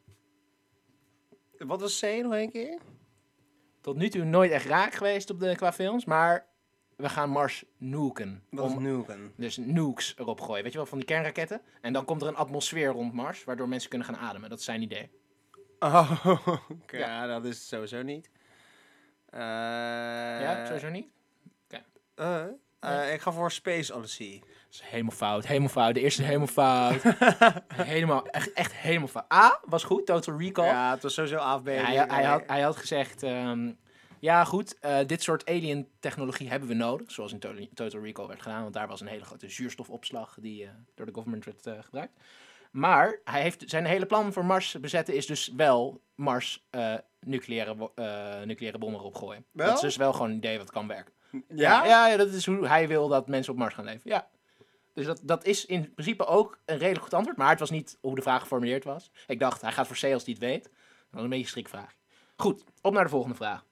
Speaker 2: Wat was C nog een keer?
Speaker 1: tot nu toe nooit echt raak geweest op de, qua films, maar we gaan Mars nuken.
Speaker 2: Wat is
Speaker 1: Om-
Speaker 2: nuken?
Speaker 1: dus nukes erop gooien, weet je wel, van die kernraketten. En dan komt er een atmosfeer rond Mars, waardoor mensen kunnen gaan ademen. Dat is zijn idee.
Speaker 2: Oh, oké.
Speaker 1: Ja.
Speaker 2: Ja, dat is het sowieso niet. Eh,
Speaker 1: ja, sowieso niet?
Speaker 2: eh, eh, Ik ga voor Space Odyssey.
Speaker 1: Dat is helemaal fout, helemaal fout. De eerste is helemaal fout. helemaal, echt, echt helemaal fout. A was goed, Total Recall.
Speaker 2: Ja, het was sowieso AFB.
Speaker 1: Ja, hij,
Speaker 2: E.
Speaker 1: hij, had, hij had gezegd, ehm, ja goed, eh, dit soort alien technologie hebben we nodig. Zoals in Total, Total Recall werd gedaan, want daar was een hele grote zuurstofopslag die eh, door de government werd eh, gebruikt. Maar hij heeft, zijn hele plan voor Mars bezetten is dus wel Mars eh, nucleaire, wo- eh, nucleaire bommen erop gooien.
Speaker 2: Wel?
Speaker 1: Dat is dus wel gewoon een idee wat kan werken.
Speaker 2: Ja?
Speaker 1: Ja, ja, dat is hoe hij wil dat mensen op Mars gaan leven. Ja. Dus dat, dat is in principe ook een redelijk goed antwoord. Maar het was niet hoe de vraag geformuleerd was. Ik dacht, hij gaat voor C als hij het weet. Dat was een beetje een strikvraag. Goed, op naar de volgende vraag.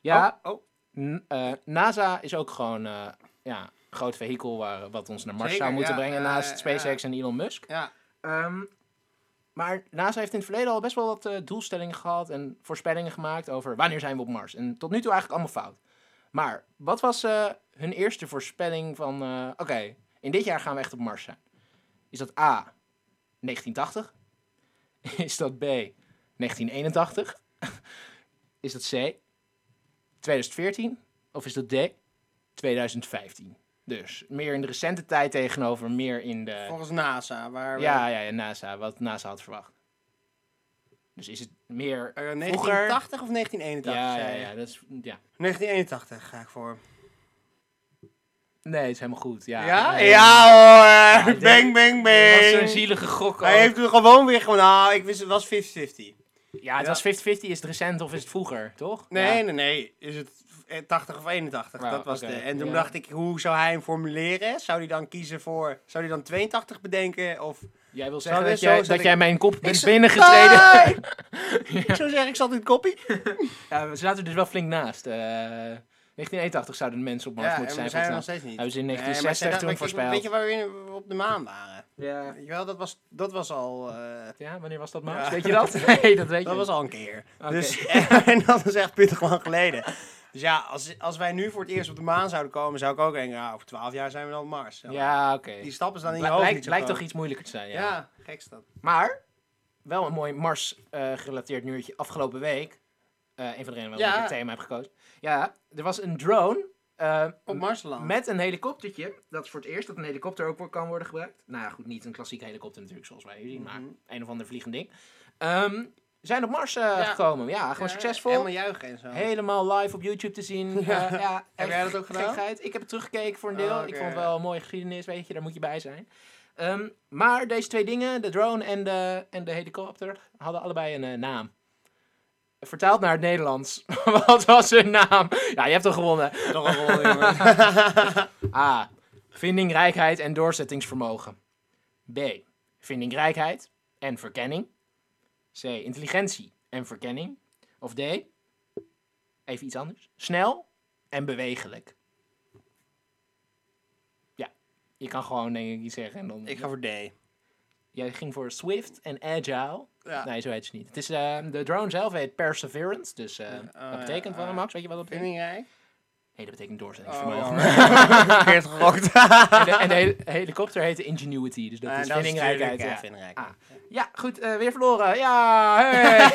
Speaker 1: Ja,
Speaker 2: Oh, oh.
Speaker 1: n- eh, NASA is ook gewoon eh, ja, een groot vehikel waar, wat ons naar Mars
Speaker 2: Zeker,
Speaker 1: zou moeten
Speaker 2: ja,
Speaker 1: brengen.
Speaker 2: eh,
Speaker 1: naast
Speaker 2: ja.
Speaker 1: SpaceX en Elon Musk.
Speaker 2: Ja.
Speaker 1: Ehm, maar NASA heeft in het verleden al best wel wat eh, doelstellingen gehad en voorspellingen gemaakt over wanneer zijn we op Mars. En tot nu toe eigenlijk allemaal fout. Maar wat was eh, hun eerste voorspelling van, eh, oké, in dit jaar gaan we echt op Mars zijn? Is dat A, 1980? Is dat B, 1981? Is dat C, 2014? Of is dat D, 2015? Dus meer in de recente tijd tegenover meer in de...
Speaker 2: Volgens NASA, waar we...
Speaker 1: Ja, ja, ja, NASA, wat NASA had verwacht. Dus is het meer...
Speaker 2: Eh,
Speaker 1: vroeger-
Speaker 2: 1980 of 1981?
Speaker 1: Ja, ja,
Speaker 2: zei je?
Speaker 1: ja, dat is... mm, Ja.
Speaker 2: 1981 ga ik voor.
Speaker 1: Nee, het is helemaal goed. Ja,
Speaker 2: Ja?
Speaker 1: Nee,
Speaker 2: Ja hoor!
Speaker 1: dit-
Speaker 2: bang, bang,
Speaker 1: Het was zo'n
Speaker 2: bang!
Speaker 1: zielige gok ook.
Speaker 2: Hij heeft er gewoon weer gewoon... Nou, ik wist het was 50-50. Nee,
Speaker 1: Ja, het was 50-50. Is het recent of is het vroeger, toch?
Speaker 2: nee,
Speaker 1: Ja.
Speaker 2: nee. Is het eh, 80 of 81?
Speaker 1: Wauw,
Speaker 2: dat was
Speaker 1: oké.
Speaker 2: de... En toen
Speaker 1: Ja.
Speaker 2: dacht ik, hoe zou hij hem formuleren? Zou hij dan kiezen voor... Zou hij dan 82 bedenken? Of...
Speaker 1: Jij wil zeggen
Speaker 2: dit
Speaker 1: dat,
Speaker 2: zo-
Speaker 1: jij,
Speaker 2: zat
Speaker 1: dat
Speaker 2: ik-
Speaker 1: jij mijn kop bent
Speaker 2: zat-
Speaker 1: binnengetreden.
Speaker 2: Ah, ik- Ik zou zeggen, ik zat in het koppie.
Speaker 1: Ja, we zaten er dus wel flink naast. Eh, 1981 zouden de mensen op Mars
Speaker 2: Ja, en
Speaker 1: moeten
Speaker 2: we
Speaker 1: zijn.
Speaker 2: zijn er nog
Speaker 1: volgens mij.
Speaker 2: steeds niet.
Speaker 1: Hebben ze in
Speaker 2: Nee, maar
Speaker 1: 1960
Speaker 2: zij-
Speaker 1: toen
Speaker 2: weet je-
Speaker 1: voorspeld.
Speaker 2: Weet je waar we op de maan waren?
Speaker 1: Ja.
Speaker 2: Weet je wel, dat was, dat was al... eh,
Speaker 1: ja, wanneer was dat, Max?
Speaker 2: Ja.
Speaker 1: Weet je dat? Nee, dat weet
Speaker 2: Dat
Speaker 1: je
Speaker 2: was
Speaker 1: niet.
Speaker 2: al een keer.
Speaker 1: Oké.
Speaker 2: Dus, en dat is echt pittig lang geleden. Dus ja, als, als wij nu voor het eerst op de maan zouden komen, zou ik ook denken, nou, over twaalf jaar zijn we dan op Mars.
Speaker 1: Ja, oké.
Speaker 2: Die stap is dan in je
Speaker 1: Bl-
Speaker 2: hoofd
Speaker 1: Blijkt,
Speaker 2: niet zo
Speaker 1: blijkt
Speaker 2: groot.
Speaker 1: toch iets moeilijker te zijn, ja.
Speaker 2: Ja, ja gek is dat.
Speaker 1: Maar, wel een mooi Mars-gerelateerd nieuwtje afgelopen week. Eh een van de redenen waarom
Speaker 2: Ja.
Speaker 1: ik het thema heb gekozen. Ja, er was een drone eh,
Speaker 2: Op Marsland.
Speaker 1: Met een helikoptertje. Dat is voor het eerst dat een helikopter ook wo- kan worden gebruikt. Nou ja, goed, niet een klassieke helikopter natuurlijk, zoals wij hier zien.
Speaker 2: Mhm.
Speaker 1: Maar een of ander vliegend ding. Ehm, zijn op Mars eh,
Speaker 2: Ja.
Speaker 1: gekomen. Ja, gewoon succesvol.
Speaker 2: Helemaal
Speaker 1: Helemaal,
Speaker 2: juichen en zo.
Speaker 1: live op YouTube te zien. Eh,
Speaker 2: Ja.
Speaker 1: ja.
Speaker 2: Heb
Speaker 1: echt
Speaker 2: jij dat ook gedaan?
Speaker 1: gekheid. Ik heb het teruggekeken voor een deel.
Speaker 2: Oh,
Speaker 1: Ik
Speaker 2: oké.
Speaker 1: vond het wel een mooie geschiedenis, weet je. Daar moet je bij zijn. Ehm, maar deze twee dingen, de drone en de, en de helikopter, hadden allebei een eh, naam. Vertaald naar het Nederlands. Wat was hun naam? Ja, je hebt hem gewonnen.
Speaker 2: Toch een rol, jongen.
Speaker 1: A. Vindingrijkheid en doorzettingsvermogen. B. Vindingrijkheid en verkenning. C. Intelligentie en verkenning. Of D. Even iets anders. Snel en bewegelijk. Ja, je kan gewoon denk ik iets zeggen. En dan...
Speaker 2: ik ga voor D.
Speaker 1: Jij ging voor Swift en Agile.
Speaker 2: Ja.
Speaker 1: Nee, zo heet ze niet. Het is, eh, de drone zelf heet Perseverance. Dus eh,
Speaker 2: oh ja,
Speaker 1: dat betekent
Speaker 2: oh
Speaker 1: wel,
Speaker 2: ja.
Speaker 1: Max, weet je wat dat betekent?
Speaker 2: Vindingrijk?
Speaker 1: Nee, dat betekent doorzettingsvermogen.
Speaker 2: Oh, verkeerd gerokt.
Speaker 1: En de, en de hel- helikopter heette Ingenuity, dus dat
Speaker 2: Eh,
Speaker 1: is
Speaker 2: dat is
Speaker 1: vindingrijkheid.
Speaker 2: natuurlijk,
Speaker 1: ja.
Speaker 2: eh, vindingrijk.
Speaker 1: Ah. ja, goed, eh, weer verloren. Ja, hey.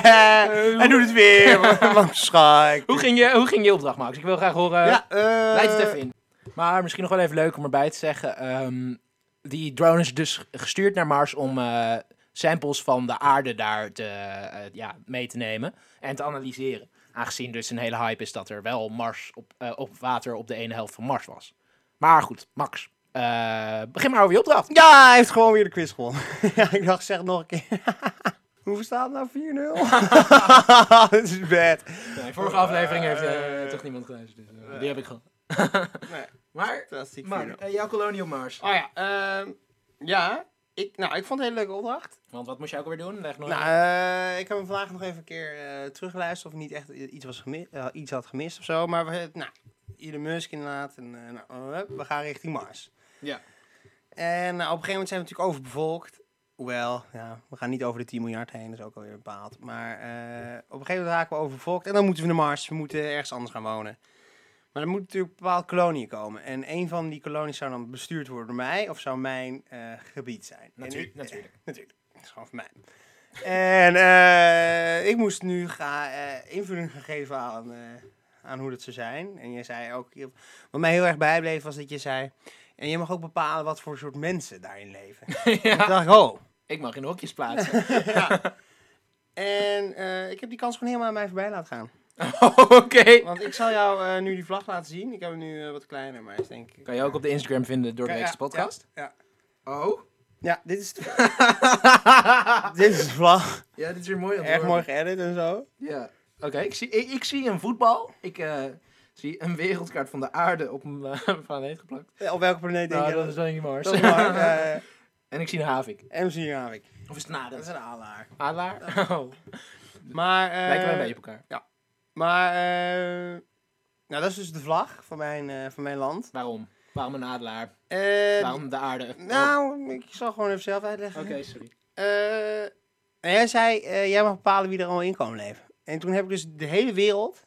Speaker 2: Hij doet het weer. Man, schaik.
Speaker 1: hoe, ging je, hoe ging je opdracht, Max? Ik wil graag horen.
Speaker 2: Ja, eh,
Speaker 1: Leid het even in. Maar misschien nog wel even leuk om erbij te zeggen. ehm, die drone is dus gestuurd naar Mars om eh, samples van de aarde daar te, eh, ja, mee te nemen en te analyseren. Aangezien dus een hele hype is dat er wel Mars op, eh, op water op de ene helft van Mars was. Maar goed, Max, eh, begin maar over je opdracht.
Speaker 2: Ja, hij heeft gewoon weer de quiz gewonnen. ja, ik dacht, zeg het nog een keer. Hoeveel staat het nou? 4-0? Dit is bad.
Speaker 1: Nee, vorige aflevering heeft eh, toch niemand geluisterd. Dus, eh, die heb ik gehad.
Speaker 2: Nee.
Speaker 1: Maar,
Speaker 2: Fantastiek
Speaker 1: jouw kolonie op Mars.
Speaker 2: Oh ja, ehm, ja. Ik, nou, ik vond het een hele leuke opdracht.
Speaker 1: Want wat moest je ook weer doen? Leg nog
Speaker 2: Nou, eh, ik heb hem vandaag nog even een keer eh, teruggeluisterd of ik niet echt iets, was gemi- eh, iets had gemist of zo. Maar we, nou, Elon Musk inderdaad. En, eh, nou, eh, we gaan richting Mars.
Speaker 1: Ja.
Speaker 2: En nou, op een gegeven moment zijn we natuurlijk overbevolkt. Hoewel, ja, we gaan niet over de 10 miljard heen, dat is ook alweer bepaald. Maar eh, op een gegeven moment raken we overbevolkt en dan moeten we naar Mars. We moeten ergens anders gaan wonen. Maar er moeten natuurlijk bepaalde koloniën komen. En een van die kolonies zou dan bestuurd worden door mij of zou mijn eh, gebied zijn. En
Speaker 1: Natuur-
Speaker 2: ik-
Speaker 1: natuurlijk.
Speaker 2: natuurlijk, dat is gewoon van mij. En eh, ik moest nu ga, eh, invulling gaan geven aan, eh, aan hoe dat zou zijn. En jij zei ook, je- wat mij heel erg bijbleef was dat je zei... En je mag ook bepalen wat voor soort mensen daarin leven. Toen dacht ik, oh.
Speaker 1: Ik mag in hokjes plaatsen.
Speaker 2: En eh, ik heb die kans gewoon helemaal aan mij voorbij laten gaan.
Speaker 1: Oké.
Speaker 2: Want ik zal jou eh, nu die vlag laten zien. Ik heb hem nu eh, wat kleiner, maar is denk ik...
Speaker 1: Kan je ook op de Instagram vinden door de
Speaker 2: Ja,
Speaker 1: weekse
Speaker 2: ja,
Speaker 1: podcast?
Speaker 2: Ja, ja.
Speaker 1: Oh.
Speaker 2: Ja, dit is de... dit is de vlag.
Speaker 1: Ja, dit is weer mooi.
Speaker 2: Erg mooi geëdit en zo.
Speaker 1: Ja. Oké, ik, zie, ik, ik zie een voetbal. Ik eh, zie een wereldkaart van de aarde op een eh, planeet geplakt.
Speaker 2: Eh, Op welke planeet denk
Speaker 1: Nou,
Speaker 2: je
Speaker 1: dat is dan niet Mars.
Speaker 2: Dat is waar. eh,
Speaker 1: en ik zie een havik.
Speaker 2: MC Javik.
Speaker 1: Of is het een
Speaker 2: Dat is
Speaker 1: adem?
Speaker 2: een Eh, alaar.
Speaker 1: Adelaar? Oh.
Speaker 2: Maar... eh,
Speaker 1: Lijken wij een beetje op elkaar.
Speaker 2: Maar... eh, nou, dat is dus de vlag van mijn, eh, van mijn land.
Speaker 1: Waarom? Waarom een adelaar?
Speaker 2: Eh,
Speaker 1: Waarom de aarde? Oh,
Speaker 2: Nou, ik zal gewoon even zelf uitleggen.
Speaker 1: Oké, sorry.
Speaker 2: Eh, en jij zei, eh, jij mag bepalen wie er allemaal in kan leven. En toen heb ik dus de hele wereld...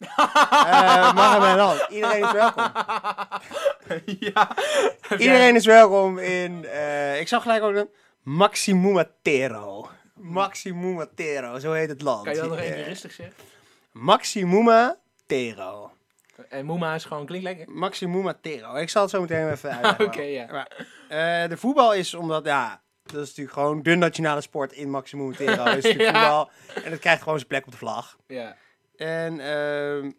Speaker 2: eh mag in mijn land. Iedereen is welkom.
Speaker 1: ja.
Speaker 2: Iedereen is welkom in... eh, ik zag gelijk ook... een- Maximumatero. Maximumatero, zo heet het land.
Speaker 1: Kan je dat nog
Speaker 2: Eh,
Speaker 1: één keer rustig zeggen?
Speaker 2: Maximumatero.
Speaker 1: En Eh, Moema is gewoon klinkt lekker.
Speaker 2: Maximumatero. Ik zal het zo meteen even uitleggen.
Speaker 1: Oké, ja.
Speaker 2: Maar, eh, de voetbal is omdat, ja, dat is natuurlijk gewoon de nationale sport in Maximumatero. is natuurlijk
Speaker 1: Ja.
Speaker 2: voetbal. En het krijgt gewoon zijn plek op de vlag.
Speaker 1: Ja.
Speaker 2: En ehm,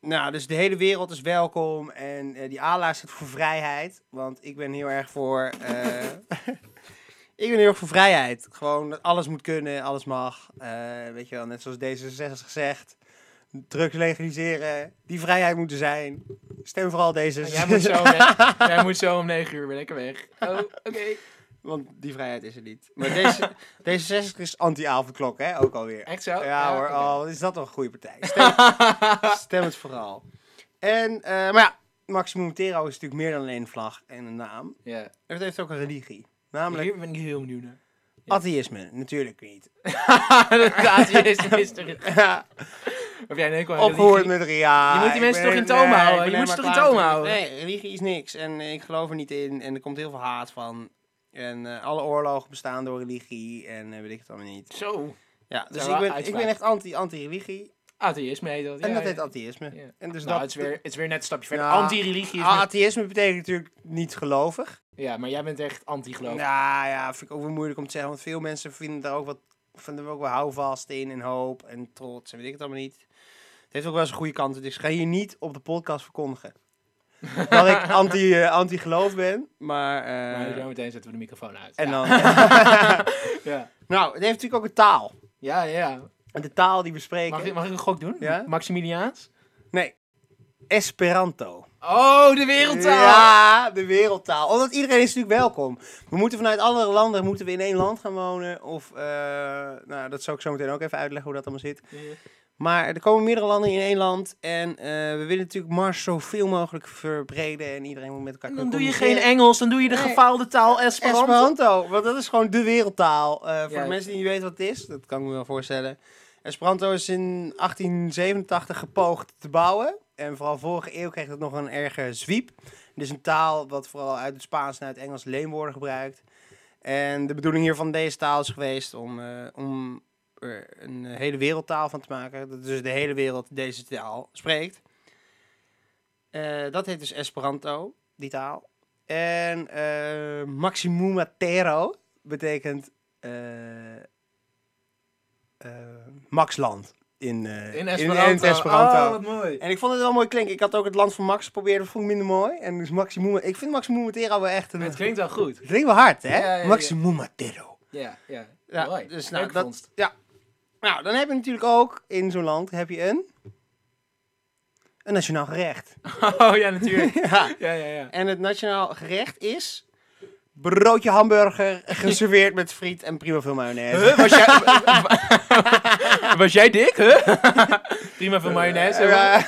Speaker 2: nou, dus de hele wereld is welkom. En eh, die ala zit voor vrijheid. Want ik ben heel erg voor. eh, ik ben heel erg voor vrijheid. Gewoon dat alles moet kunnen, alles mag. Eh, weet je wel, net zoals D66 zegt. Drugs legaliseren, die vrijheid moeten zijn. Stem vooral
Speaker 1: En
Speaker 2: D66.
Speaker 1: Jij moet, zo om ne- jij moet zo om 9 uur weer lekker weg. Oh, oké.
Speaker 2: Want die vrijheid is er niet. Maar deze, D66 is anti-avondklok, hè? Ook alweer.
Speaker 1: Echt zo?
Speaker 2: Ja, hoor,
Speaker 1: oké.
Speaker 2: oh, wat is dat toch een goede partij. Stem, stem het vooral. En, eh, maar ja, Maximum Tero is natuurlijk meer dan alleen een vlag en een naam.
Speaker 1: Ja.
Speaker 2: Het heeft ook een religie. Namelijk
Speaker 1: Hier ben ik heel benieuwd naar.
Speaker 2: atheïsme, natuurlijk niet.
Speaker 1: dat atheïsme is er.
Speaker 2: Ja,
Speaker 1: Of jij in één keer een
Speaker 2: Opgehoord
Speaker 1: religie-
Speaker 2: met ja.
Speaker 1: Je moet die
Speaker 2: ik
Speaker 1: mensen
Speaker 2: ben-
Speaker 1: toch in toom
Speaker 2: nee,
Speaker 1: houden?
Speaker 2: ik ben
Speaker 1: Je moet ze
Speaker 2: helemaal
Speaker 1: toch in
Speaker 2: klaar
Speaker 1: toom
Speaker 2: met-
Speaker 1: houden?
Speaker 2: Nee, religie is niks. En eh, ik geloof er niet in. En er komt heel veel haat van. En eh, alle oorlogen bestaan door religie. En eh, weet ik het allemaal niet.
Speaker 1: Zo.
Speaker 2: Ja, dus
Speaker 1: Zijn
Speaker 2: ik
Speaker 1: wel
Speaker 2: ben, ik
Speaker 1: uitspraken.
Speaker 2: ben echt anti- anti-religie.
Speaker 1: Atheïsme heet dat.
Speaker 2: en
Speaker 1: ja,
Speaker 2: dat
Speaker 1: ja.
Speaker 2: heet atheïsme.
Speaker 1: Ja.
Speaker 2: En dus
Speaker 1: Nou,
Speaker 2: dat
Speaker 1: het, is weer, het is weer net een stapje verder.
Speaker 2: Ja.
Speaker 1: Anti-religie is...
Speaker 2: Ah,
Speaker 1: met-
Speaker 2: atheïsme betekent natuurlijk niet gelovig.
Speaker 1: Ja, maar jij bent echt anti-geloof.
Speaker 2: Nou ja, vind ik ook weer moeilijk om te zeggen. Want veel mensen vinden daar ook wat vinden er ook wel houvast in en hoop en trots en weet ik het allemaal niet. Het heeft ook wel eens een goede kant. Dus ik ga hier niet op de podcast verkondigen. dat ik anti, eh, anti-geloof ben, maar... eh,
Speaker 1: Maar zo meteen zetten we de microfoon uit.
Speaker 2: en
Speaker 1: ja.
Speaker 2: dan,
Speaker 1: Ja.
Speaker 2: nou, het heeft natuurlijk ook een taal.
Speaker 1: Ja, ja.
Speaker 2: En de taal die we spreken...
Speaker 1: Mag ik, mag ik een gok doen?
Speaker 2: Ja?
Speaker 1: Maximiliaans?
Speaker 2: Nee, Esperanto.
Speaker 1: Oh, de wereldtaal!
Speaker 2: Ja, de wereldtaal. Omdat iedereen is natuurlijk welkom. We moeten vanuit andere landen moeten we in één land gaan wonen. Of, eh, nou, dat zal ik zo meteen ook even uitleggen hoe dat allemaal zit. Maar er komen meerdere landen in één land. En eh, we willen natuurlijk Mars zoveel mogelijk verbreden. En iedereen moet met elkaar
Speaker 1: Dan
Speaker 2: kunnen
Speaker 1: doe je geen
Speaker 2: communiceren.
Speaker 1: Engels, dan doe je de
Speaker 2: Nee.
Speaker 1: gefaalde taal Eh, Esperanto.
Speaker 2: Esperanto, want dat is gewoon de wereldtaal. Eh, voor
Speaker 1: Ja.
Speaker 2: de mensen die niet weten wat het is, dat kan ik me wel voorstellen. Esperanto is in 1887 gepoogd te bouwen. En vooral vorige eeuw kreeg het nog een erge zwiep. Dit is een taal wat vooral uit het Spaans en uit het Engels leenwoorden gebruikt. En de bedoeling hier van deze taal is geweest om, eh, om er een hele wereldtaal van te maken. Dat dus de hele wereld deze taal spreekt. Eh, dat heet dus Esperanto, die taal. En eh Maximumatero betekent eh, eh, Maxland in, eh, in-
Speaker 1: In
Speaker 2: in
Speaker 1: Esperanto.
Speaker 2: het Esperanto.
Speaker 1: Oh, wat mooi.
Speaker 2: En ik vond het wel mooi klinken. Ik had ook het land van Max geprobeerd, dat vond ik minder mooi. En dus Maximum, ik vind Maximum Matero wel echt een...
Speaker 1: Het klinkt wel goed.
Speaker 2: Het klinkt wel hard, hè?
Speaker 1: Ja, ja, ja.
Speaker 2: Maximum Matero.
Speaker 1: Ja, ja.
Speaker 2: Ja,
Speaker 1: mooi.
Speaker 2: dus nou,
Speaker 1: Leuke
Speaker 2: dat,
Speaker 1: vondst.
Speaker 2: ja. Nou, dan heb je natuurlijk ook in zo'n land heb je een... Een nationaal gerecht.
Speaker 1: Oh ja, natuurlijk.
Speaker 2: ja.
Speaker 1: Ja, ja, ja.
Speaker 2: En het nationaal gerecht is... Broodje hamburger, geserveerd met friet en prima veel mayonaise.
Speaker 1: was, jij, was jij dik, hè? Prima veel mayonaise. hoor.
Speaker 2: Ja,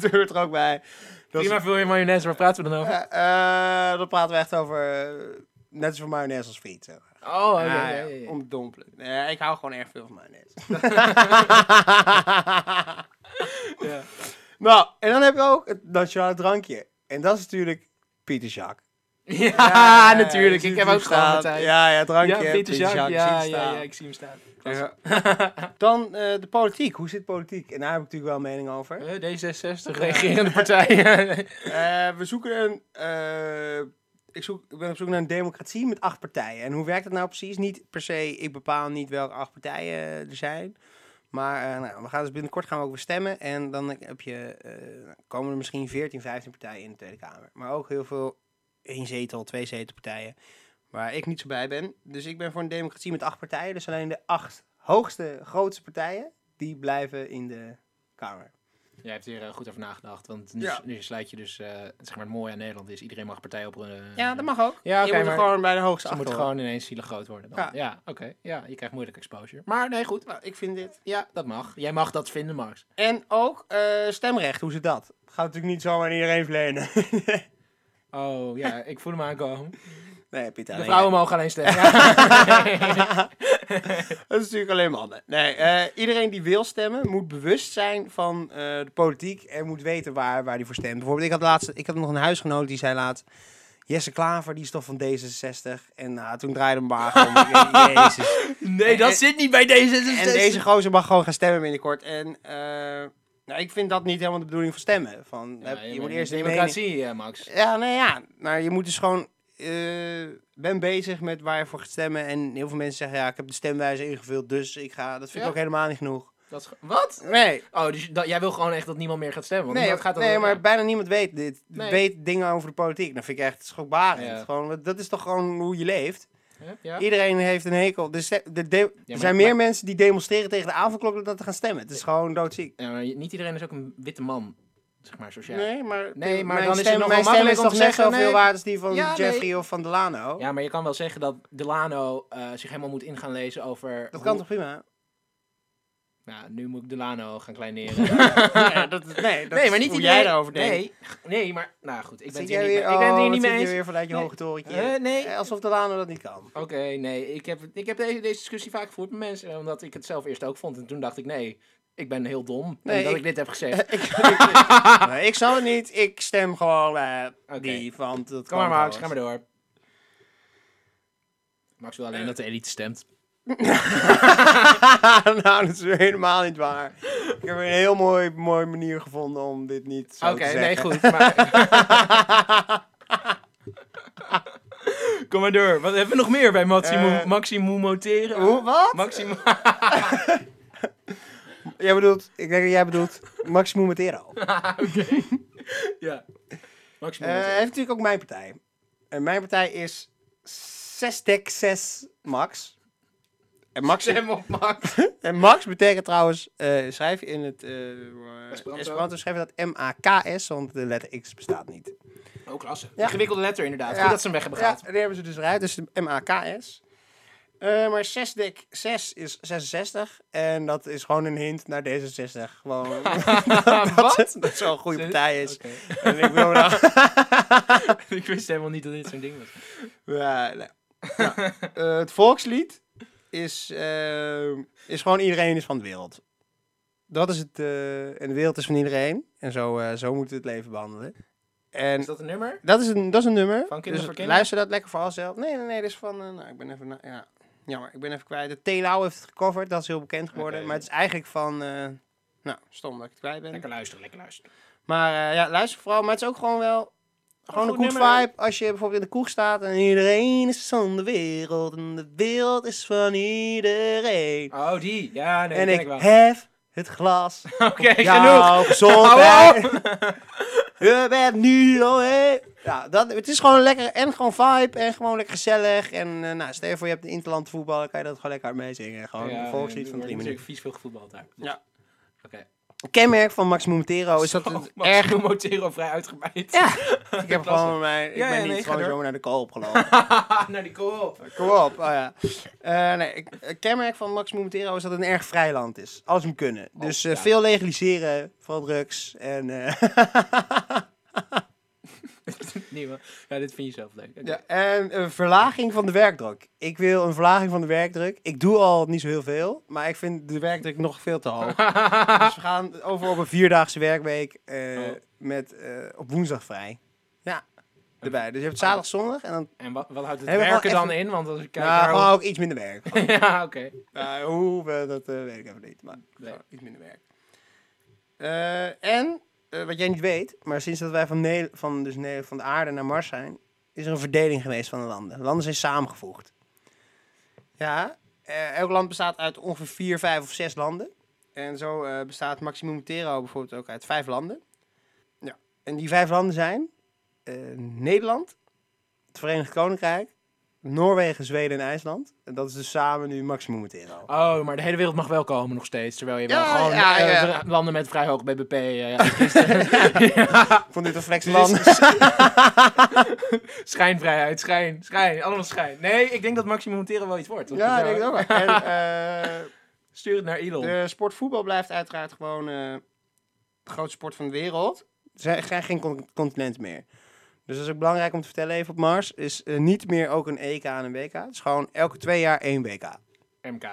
Speaker 2: dat hoort er ook bij. Dat is-
Speaker 1: Prima veel mayonaise, waar praten we dan over?
Speaker 2: Eh, eh, dan praten we echt over... eh, net zoveel mayonaise als friet, zeg maar.
Speaker 1: Oh, oké. ja,
Speaker 2: Ja, ja,
Speaker 1: ja, ja.
Speaker 2: Omdompelen. Nee, ik hou gewoon erg veel van mayonaise.
Speaker 1: Ja.
Speaker 2: nou, en dan heb je ook het nationale drankje. En dat is natuurlijk Pieter Jacques.
Speaker 1: Ja, natuurlijk. Ik heb ook gewoon
Speaker 2: staan.
Speaker 1: Matthijs.
Speaker 2: Ja, ja, drankje.
Speaker 1: Ja, Peter Jacques. Ja, ja, ja, ik zie hem staan.
Speaker 2: Dan eh, de politiek. Hoe zit politiek? En daar heb ik natuurlijk wel een mening over.
Speaker 1: Eh, D66, regerende partij.
Speaker 2: Eh, we zoeken een. eh, ik, zoek, ik ben op zoek naar een democratie met acht partijen. En hoe werkt dat nou precies? Niet per se, ik bepaal niet welke acht partijen er zijn. Maar eh, nou, we gaan dus binnenkort gaan we ook weer stemmen. En dan heb je, eh, komen er misschien 14, 15 partijen in de Tweede Kamer. Maar ook heel veel één zetel, twee zetelpartijen. Waar ik niet zo bij ben. Dus ik ben voor een democratie met acht partijen. Dus alleen de acht hoogste, grootste partijen, die blijven in de Kamer.
Speaker 1: Jij hebt hier eh, goed over nagedacht, want nu,
Speaker 2: Ja.
Speaker 1: nu sluit je dus, eh, zeg maar het mooie aan Nederland is, iedereen mag partij op... eh,
Speaker 2: Ja, dat mag ook.
Speaker 1: Ja, oké,
Speaker 2: je moet er
Speaker 1: maar-
Speaker 2: gewoon bij de hoogste
Speaker 1: Ze
Speaker 2: acht
Speaker 1: moet
Speaker 2: horen.
Speaker 1: gewoon ineens zielig groot worden dan.
Speaker 2: Ja.
Speaker 1: Ja, oké. Ja, je krijgt moeilijk exposure. Maar nee, goed.
Speaker 2: Nou, ik vind dit.
Speaker 1: Ja, dat mag. Jij mag dat vinden, Max.
Speaker 2: En ook eh, stemrecht, hoe zit dat? Gaat natuurlijk niet zomaar aan iedereen verlenen.
Speaker 1: Oh, ja, ik voel hem aankomen.
Speaker 2: nee, Piet
Speaker 1: De
Speaker 2: alleen.
Speaker 1: vrouwen mogen alleen stemmen. Ja.
Speaker 2: Dat is natuurlijk alleen mannen. Nee, eh, iedereen die wil stemmen moet bewust zijn van eh, de politiek en moet weten waar, waar die voor stemt. Bijvoorbeeld, ik had, laatst, ik had nog een huisgenoot die zei laat... Jesse Klaver, die is toch van D66. En nou, toen draaide mijn maag om. Ik denk, eh, Jezus.
Speaker 1: Nee, dat
Speaker 2: En-
Speaker 1: zit niet bij D66.
Speaker 2: En deze gozer mag gewoon gaan stemmen binnenkort. En eh, nou, ik vind dat niet helemaal de bedoeling van stemmen. Van,
Speaker 1: Ja,
Speaker 2: heb- je, moet
Speaker 1: bent
Speaker 2: eerst
Speaker 1: een
Speaker 2: een mening-
Speaker 1: democratie, eh, Max.
Speaker 2: Ja, nou ja. Nou, je moet dus gewoon... eh, ben bezig met waar je voor gaat stemmen. En heel veel mensen zeggen, ja, ik heb de stemwijze ingevuld, dus ik ga... Dat vind
Speaker 1: Ja.
Speaker 2: ik ook helemaal niet genoeg.
Speaker 1: Dat is ge- Wat?
Speaker 2: Nee,
Speaker 1: Oh, dus dat, jij wil gewoon echt dat niemand meer gaat stemmen? Want
Speaker 2: nee,
Speaker 1: dat gaat dan-
Speaker 2: nee maar bijna niemand weet dit.
Speaker 1: Nee.
Speaker 2: Weet dingen over de politiek. Dat vind ik echt schokbarend.
Speaker 1: Ja.
Speaker 2: Gewoon, want dat is toch gewoon hoe je leeft.
Speaker 1: Ja, ja.
Speaker 2: Iedereen heeft een hekel. Dus de, de- de-
Speaker 1: maar-
Speaker 2: er zijn meer mensen die demonstreren tegen de avondklok dan dat te gaan stemmen. Het is gewoon doodziek.
Speaker 1: Ja, maar niet iedereen is ook een witte man, zeg maar, zoals jij.
Speaker 2: Nee, maar,
Speaker 1: Nee, maar
Speaker 2: mijn
Speaker 1: dan is het
Speaker 2: stem,
Speaker 1: nogal
Speaker 2: mijn stem is
Speaker 1: makkelijk om
Speaker 2: toch
Speaker 1: te
Speaker 2: net
Speaker 1: zeggen,
Speaker 2: zoveel
Speaker 1: nee.
Speaker 2: waard als die van
Speaker 1: Ja, nee.
Speaker 2: Jeffrey of van Delano.
Speaker 1: Ja, maar je kan wel zeggen dat Delano eh, zich helemaal moet in gaan lezen over...
Speaker 2: Dat kan
Speaker 1: hoe-
Speaker 2: toch prima?
Speaker 1: Nou, nu moet ik Delano gaan kleineren.
Speaker 2: nee, dat, is- nee, dat
Speaker 1: nee, maar
Speaker 2: is
Speaker 1: niet
Speaker 2: hoe
Speaker 1: iedereen...
Speaker 2: jij daarover denkt.
Speaker 1: Nee, nee, maar... Nou goed, ik ben
Speaker 2: Zit
Speaker 1: het hier niet
Speaker 2: jij
Speaker 1: mee,
Speaker 2: weer-
Speaker 1: ik ben het hier
Speaker 2: oh,
Speaker 1: niet mee
Speaker 2: wat zit je
Speaker 1: eens.
Speaker 2: weer vanuit je
Speaker 1: Nee.
Speaker 2: hoge torentje.
Speaker 1: Eh, nee.
Speaker 2: Eh, Alsof Delano dat niet kan.
Speaker 1: Oké, nee, ik heb, ik heb deze, deze discussie vaak gevoerd met mensen, eh, omdat ik het zelf eerst ook vond. En toen dacht ik, nee, ik ben heel dom,
Speaker 2: Nee,
Speaker 1: omdat ik...
Speaker 2: ik-
Speaker 1: dit heb gezegd.
Speaker 2: ik, ik, nee, ik zal het niet. Ik stem gewoon eh,
Speaker 1: Oké.
Speaker 2: die. Want dat
Speaker 1: Kom
Speaker 2: kan
Speaker 1: maar, Max, ga
Speaker 2: gewoon.
Speaker 1: maar door. Max wil alleen dat de elite stemt.
Speaker 2: nou, dat is weer helemaal niet waar. Ik heb een heel mooi, mooie manier gevonden om dit niet zo
Speaker 1: Oké,
Speaker 2: te zeggen.
Speaker 1: nee, goed. Maar... Kom maar door. Wat hebben we nog meer bij Maximo,
Speaker 2: Eh,
Speaker 1: Maximo Moteren?
Speaker 2: Hoe, wat?
Speaker 1: Maximo...
Speaker 2: Jij bedoelt, ik denk dat jij bedoelt Maximo Matero. Eh,
Speaker 1: ja. Maximo
Speaker 2: Hij
Speaker 1: Motero.
Speaker 2: heeft natuurlijk ook mijn partij. En mijn partij is 6 dek 6 Max. En Max,
Speaker 1: Stem op Max.
Speaker 2: en Max betekent trouwens, eh, schrijf in het eh
Speaker 1: Esperanto.
Speaker 2: Esperanto. schrijf je dat M-A-K-S, want de letter X bestaat niet.
Speaker 1: Oh, klasse.
Speaker 2: Ja.
Speaker 1: Ingewikkelde letter inderdaad.
Speaker 2: Ja.
Speaker 1: Goed dat ze hem weg hebben gehaald.
Speaker 2: Ja, die hebben ze dus eruit. Dus de MAKS. Eh maar 6 dek 6 is 66. En dat is gewoon een hint naar D66. Gewoon dat,
Speaker 1: Wat?
Speaker 2: dat, dat zo'n goede partij is.
Speaker 1: Oké.
Speaker 2: En ik wil nou...
Speaker 1: ik wist helemaal niet dat dit zo'n ding was.
Speaker 2: Ja, nee. Ja. Eh, het volkslied is, eh, is gewoon iedereen is van de wereld. Dat is het. eh, en de wereld is van iedereen. En zo, eh, zo moeten we het leven behandelen. En
Speaker 1: Is dat een nummer?
Speaker 2: Dat is een, dat is een nummer. Dus
Speaker 1: Van Kinderen voor Kinderen?
Speaker 2: Luister dat lekker vooral zelf. Nee, nee, nee. Dat is van. eh, nou, ik ben even. na- ja. Jammer, ik ben even kwijt. De Telau heeft het gecoverd. Dat is heel bekend geworden.
Speaker 1: Oké.
Speaker 2: Maar het is eigenlijk van. eh, nou, stom dat ik het kwijt ben.
Speaker 1: Lekker luisteren, lekker luisteren.
Speaker 2: Maar eh, ja, luister vooral. Maar het is ook gewoon wel. Gewoon
Speaker 1: goed
Speaker 2: een goed
Speaker 1: nummer.
Speaker 2: vibe. Als je bijvoorbeeld in de kroeg staat en iedereen is van de wereld. En de wereld is van iedereen.
Speaker 1: Oh, die. Ja, nee,
Speaker 2: en
Speaker 1: die
Speaker 2: ik,
Speaker 1: ken ik wel.
Speaker 2: hef het glas.
Speaker 1: Oké, genoeg.
Speaker 2: Ja,
Speaker 1: Hou
Speaker 2: gezondheid. Je bent nu al hé. Ja, dat, het is gewoon lekker en gewoon vibe en gewoon lekker gezellig. En eh, nou, stel je voor je hebt een interland voetbal, dan kan je dat gewoon lekker uit meezingen. Gewoon een volkslied van drie minuten.
Speaker 1: Ik vies veel gevoetbald daar. Dus-
Speaker 2: Ja.
Speaker 1: Oké. Oh,
Speaker 2: Het kenmerk van Max Momentero is dat
Speaker 1: Zo,
Speaker 2: het
Speaker 1: Max
Speaker 2: erg...
Speaker 1: Motero vrij uitgebreid.
Speaker 2: Ja, ik heb
Speaker 1: Klasse.
Speaker 2: gewoon mijn... Ik
Speaker 1: Ja, ja,
Speaker 2: ben
Speaker 1: nee,
Speaker 2: niet
Speaker 1: ga
Speaker 2: gewoon
Speaker 1: door.
Speaker 2: zomaar naar de kool opgelopen.
Speaker 1: Naar die kool.
Speaker 2: Kom op, oh ja. Eh, nee, ik- het kenmerk van Max Momentero is dat het een erg vrij land is. Alles moet kunnen. Dus eh,
Speaker 1: Oh, ja.
Speaker 2: veel legaliseren, vooral drugs. En eh,
Speaker 1: Nee, maar- ja, dit vind je zelf leuk. Oké.
Speaker 2: Ja, en een verlaging van de werkdruk. Ik wil een verlaging van de werkdruk. Ik doe al niet zo heel veel, maar ik vind de werkdruk nog veel te hoog. dus we gaan over op een vierdaagse werkweek eh,
Speaker 1: Oh.
Speaker 2: met eh, op woensdag vrij. Ja, erbij. Dus je hebt zaterdag, zondag en dan
Speaker 1: En wat, wat houdt het
Speaker 2: Hebben we
Speaker 1: werken dan
Speaker 2: gewoon
Speaker 1: in? Want als ik Oh. kijk
Speaker 2: nou,
Speaker 1: naar...
Speaker 2: gewoon ook iets minder werk.
Speaker 1: ja, oké.
Speaker 2: Nou, hoe, we- dat eh, weet ik even niet, maar
Speaker 1: Nee.
Speaker 2: gewoon iets minder werk. Eh, en, eh, wat jij niet weet, maar sinds dat wij van, Ne- van, dus Ne- van de aarde naar Mars zijn, is er een verdeling geweest van de landen. Landen zijn samengevoegd. Ja, eh, elk land bestaat uit ongeveer vier, vijf of zes landen. En zo eh, bestaat Maximum Terro bijvoorbeeld ook uit vijf landen. Ja. En die vijf landen zijn eh, Nederland, het Verenigd Koninkrijk, Noorwegen, Zweden en IJsland. En dat is dus samen nu Maximum Terro.
Speaker 1: Oh, maar de hele wereld mag wel komen nog steeds. Terwijl je wel
Speaker 2: Ja,
Speaker 1: gewoon
Speaker 2: ja,
Speaker 1: eh,
Speaker 2: ja.
Speaker 1: ver- landen met vrij hoog BBP... eh, ja,
Speaker 2: Van dit
Speaker 1: Land.
Speaker 2: reflexland.
Speaker 1: schijnvrijheid, schijn, schijn. Allemaal schijn. Nee, ik denk dat Maximo Montero wel iets wordt. want
Speaker 2: Ja,
Speaker 1: dat
Speaker 2: ik denk
Speaker 1: zou-
Speaker 2: ik ook. wel. En, eh,
Speaker 1: Stuur het naar Elon.
Speaker 2: de sportvoetbal blijft uiteraard gewoon eh, de grootste sport van de wereld. Er zijn- zijn geen con- continenten meer. Dus dat is ook belangrijk om te vertellen even op Mars. Is eh, niet meer ook een EK en een WK. Het is gewoon elke twee jaar één WK.
Speaker 1: MK.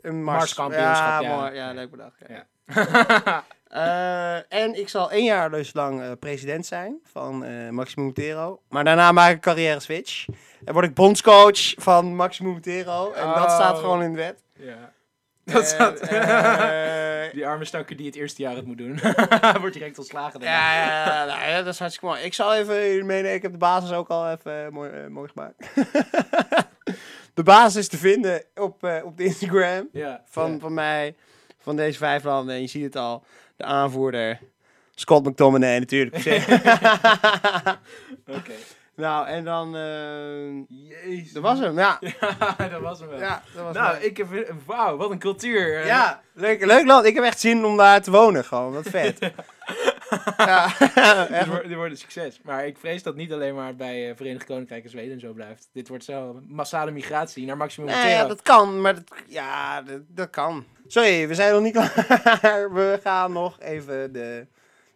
Speaker 2: Een Mars,
Speaker 1: Marskampioenschap, ja.
Speaker 2: mooi. ja, leuk bedacht. Ja.
Speaker 1: Ja.
Speaker 2: Eh, en ik zal één jaar dus lang eh, president zijn van eh Maximo Montero. Maar daarna maak ik een carrière switch. En word ik bondscoach van Maximo Montero. En dat
Speaker 1: Oh.
Speaker 2: staat gewoon in de wet.
Speaker 1: Ja. Dat staat...
Speaker 2: En, eh,
Speaker 1: Die arme stakker die het eerste jaar het moet doen. Wordt direct ontslagen. daarna.
Speaker 2: ja, ja, ja, nou, ja, dat is hartstikke mooi. Ik zal even jullie meenemen. Ik heb de basis ook al even eh, mooi, eh, mooi gemaakt. de basis is te vinden op, eh, op de Instagram.
Speaker 1: Ja.
Speaker 2: van,
Speaker 1: Ja.
Speaker 2: van mij, van deze vijf landen. En je ziet het al, de aanvoerder, Scott McTominay natuurlijk.
Speaker 1: Oké.
Speaker 2: nou, en dan, eh,
Speaker 1: Jezus.
Speaker 2: dat was hem, ja.
Speaker 1: Ja, dat was hem wel.
Speaker 2: ja dat was
Speaker 1: nou,
Speaker 2: hem.
Speaker 1: ik heb... Wauw, wat een cultuur. eh.
Speaker 2: ja, leuk, leuk land. Ik heb echt zin om daar te wonen, gewoon. Wat vet. ja,
Speaker 1: Dit
Speaker 2: echt.
Speaker 1: Dus wordt, dit wordt een succes. Maar ik vrees dat niet alleen maar bij eh, Verenigd Koninkrijk en Zweden en zo blijft. Dit wordt zo massale migratie naar Maximum
Speaker 2: Nee, Nou ja, dat kan, maar dat, ja, dat, dat kan. Sorry, we zijn nog niet klaar. we gaan nog even de,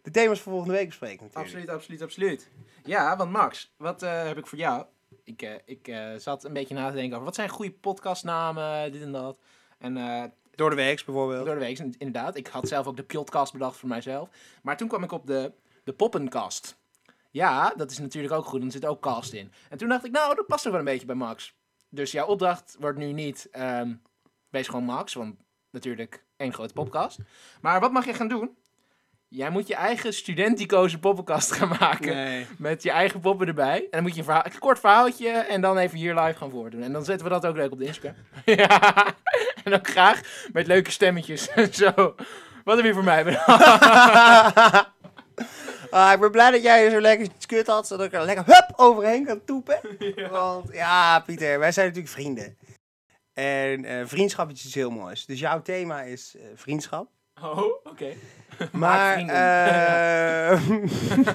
Speaker 2: de thema's voor volgende week bespreken natuurlijk.
Speaker 1: Absoluut, absoluut, absoluut. Ja, want Max, wat eh, heb ik voor jou? Ik, eh, ik eh, zat een beetje na te denken over wat zijn goede podcastnamen, dit en dat. En eh,
Speaker 2: Door de week bijvoorbeeld.
Speaker 1: door de week, inderdaad. Ik had zelf ook de podcast bedacht voor mijzelf. Maar toen kwam ik op de, de poppenkast. Ja, dat is natuurlijk ook goed, want er zit ook cast in. En toen dacht ik, nou, dat past toch wel een beetje bij Max. Dus jouw opdracht wordt nu niet, ehm, wees gewoon Max, want natuurlijk één grote popcast. Maar wat mag je gaan doen? Jij moet je eigen studenticoze poppenkast gaan maken.
Speaker 2: Nee.
Speaker 1: Met je eigen poppen erbij. En dan moet je een, verhaal, een kort verhaaltje en dan even hier live gaan voordoen. En dan zetten we dat ook leuk op de Instagram. ja. En ook graag met leuke stemmetjes en zo. Wat heb je voor mij bedacht?
Speaker 2: Ah, ik ben blij dat jij zo lekker skut had, zodat ik er lekker hup overheen kan toepen. Want ja, Pieter, wij zijn natuurlijk vrienden. En eh, vriendschap is iets heel moois. Dus jouw thema is eh, vriendschap.
Speaker 1: Oh, oké.
Speaker 2: Maar,
Speaker 1: vrienden.
Speaker 2: eh,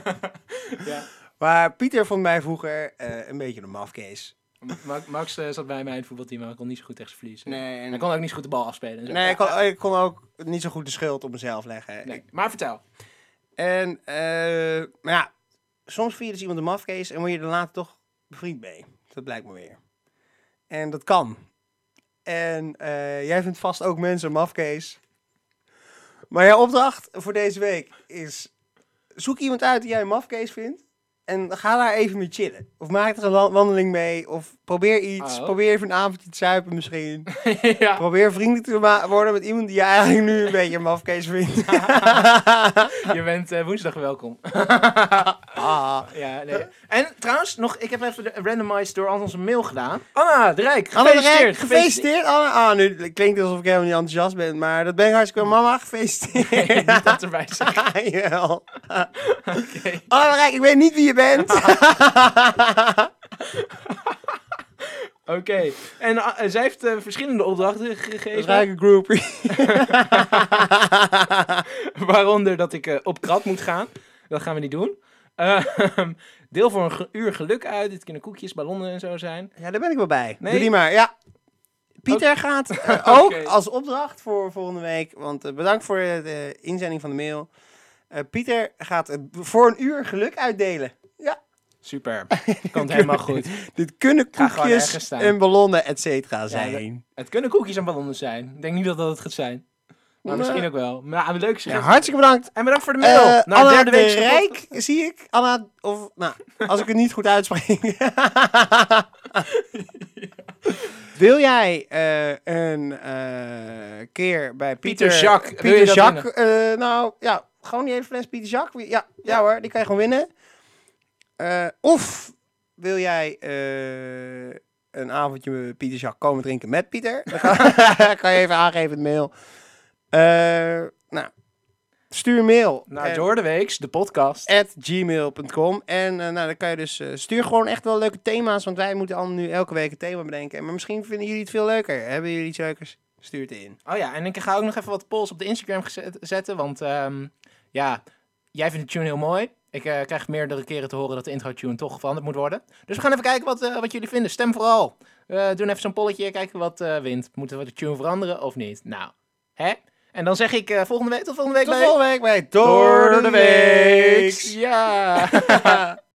Speaker 1: Ja.
Speaker 2: maar Pieter vond mij vroeger eh, een beetje een mafkees.
Speaker 1: Ma- Max eh, zat bij mij in het voetbalteam, maar hij kon niet zo goed tegen zijn verlies.
Speaker 2: Nee, en-
Speaker 1: Hij kon ook niet zo goed de bal afspelen. en zo.
Speaker 2: nee ik, kon, ik kon ook niet zo goed de schuld op mezelf leggen.
Speaker 1: Nee. Maar vertel.
Speaker 2: En, eh, maar ja, soms vind je dus iemand een mafkees en word je er later toch bevriend mee. Dat blijkt me weer. En dat kan. En eh, jij vindt vast ook mensen een mafkees. Maar jouw opdracht voor deze week is, zoek iemand uit die jij een mafkees vindt. En ga daar even mee chillen. Of maak er een wa- wandeling mee. Of probeer iets.
Speaker 1: Oh.
Speaker 2: Probeer even een avondje te zuipen misschien.
Speaker 1: ja.
Speaker 2: Probeer vriendelijk te ma- worden met iemand die je eigenlijk nu een beetje een mafkees vindt.
Speaker 1: Je bent eh, woensdag welkom.
Speaker 2: Ah.
Speaker 1: ja, nee. En trouwens, nog, ik heb even de randomized door al onze mail gedaan. Anna de Rijk,
Speaker 2: Anne de
Speaker 1: gefeliciteerd.
Speaker 2: Rijk, gefeliciteerd. Anne. Ah, nu klinkt het alsof ik helemaal niet enthousiast ben, maar dat ben ik hartstikke wel. Mama, gefeliciteerd.
Speaker 1: niet dat erbij staat.
Speaker 2: Jawel.
Speaker 1: Oké.
Speaker 2: Anne de Rijk, Ah, ik weet niet wie je bent.
Speaker 1: Oké, en ah, eh, zij heeft eh, verschillende opdrachten ge- gegeven.
Speaker 2: Rijke groupie.
Speaker 1: Waaronder dat ik eh, op krat moet gaan. Dat gaan we niet doen. Ehm, deel voor een ge- uur geluk uit. Dit kunnen koekjes, ballonnen en zo zijn.
Speaker 2: Ja, daar ben ik wel bij.
Speaker 1: Nee. Oh.
Speaker 2: Doe die maar, ja. Pieter gaat eh, ook
Speaker 1: Oké.
Speaker 2: als opdracht voor volgende week, want eh, bedankt voor eh, de inzending van de mail. Eh, Pieter gaat eh, voor een uur geluk uitdelen. Ja.
Speaker 1: Super. Komt helemaal goed.
Speaker 2: Dit kunnen
Speaker 1: Ga gewoon
Speaker 2: koekjes
Speaker 1: ergens staan.
Speaker 2: en ballonnen, et cetera, zijn.
Speaker 1: Het kunnen koekjes en ballonnen zijn. Ik denk niet dat dat het gaat zijn. Maar
Speaker 2: eh,
Speaker 1: misschien ook wel. Maar een leuk
Speaker 2: Ja,
Speaker 1: suggestie.
Speaker 2: hartstikke bedankt.
Speaker 1: En bedankt voor de mail.
Speaker 2: Dus- Eh
Speaker 1: Nou,
Speaker 2: Anna de
Speaker 1: weekse podcast.
Speaker 2: Rijk, zie ik. Anna, of, nou, als ik het niet goed uitspreek. Wil jij eh, een eh, keer bij Pieter,
Speaker 1: Pieter Jacques, wil je dat
Speaker 2: Pieter Jacques eh, nou ja, gewoon die hele fles Pieter Jacques. Ja, ja, hoor, die kan je gewoon winnen. Eh, of wil jij eh, een avondje met Pieter Jacques komen drinken met Pieter? Dan kan, kan je even aangeven in de mail. Eh, nou, stuur een mail.
Speaker 1: Naar
Speaker 2: En-
Speaker 1: Door de Weeks, de podcast.
Speaker 2: at gmail.com. En eh, nou, dan kan je dus eh, stuur gewoon echt wel leuke thema's, want wij moeten al nu elke week een thema bedenken. Maar misschien vinden jullie het veel leuker. Hebben jullie iets leukers? Stuur het in.
Speaker 1: Oh ja, en ik ga ook nog even wat polls op de Instagram gezet- zetten. Want ehm, ja, jij vindt de tune heel mooi. Ik eh, krijg meerdere keren te horen dat de intro-tune toch veranderd moet worden. Dus we gaan even kijken wat, eh, wat jullie vinden. Stem vooral. Eh doen even zo'n polletje, kijken wat eh, wint. Moeten we de tune veranderen of niet? Nou, hè? En dan zeg ik eh, volgende week tot volgende week.
Speaker 2: Tot
Speaker 1: bij-
Speaker 2: volgende week bij Door de Weeks.
Speaker 1: Ja.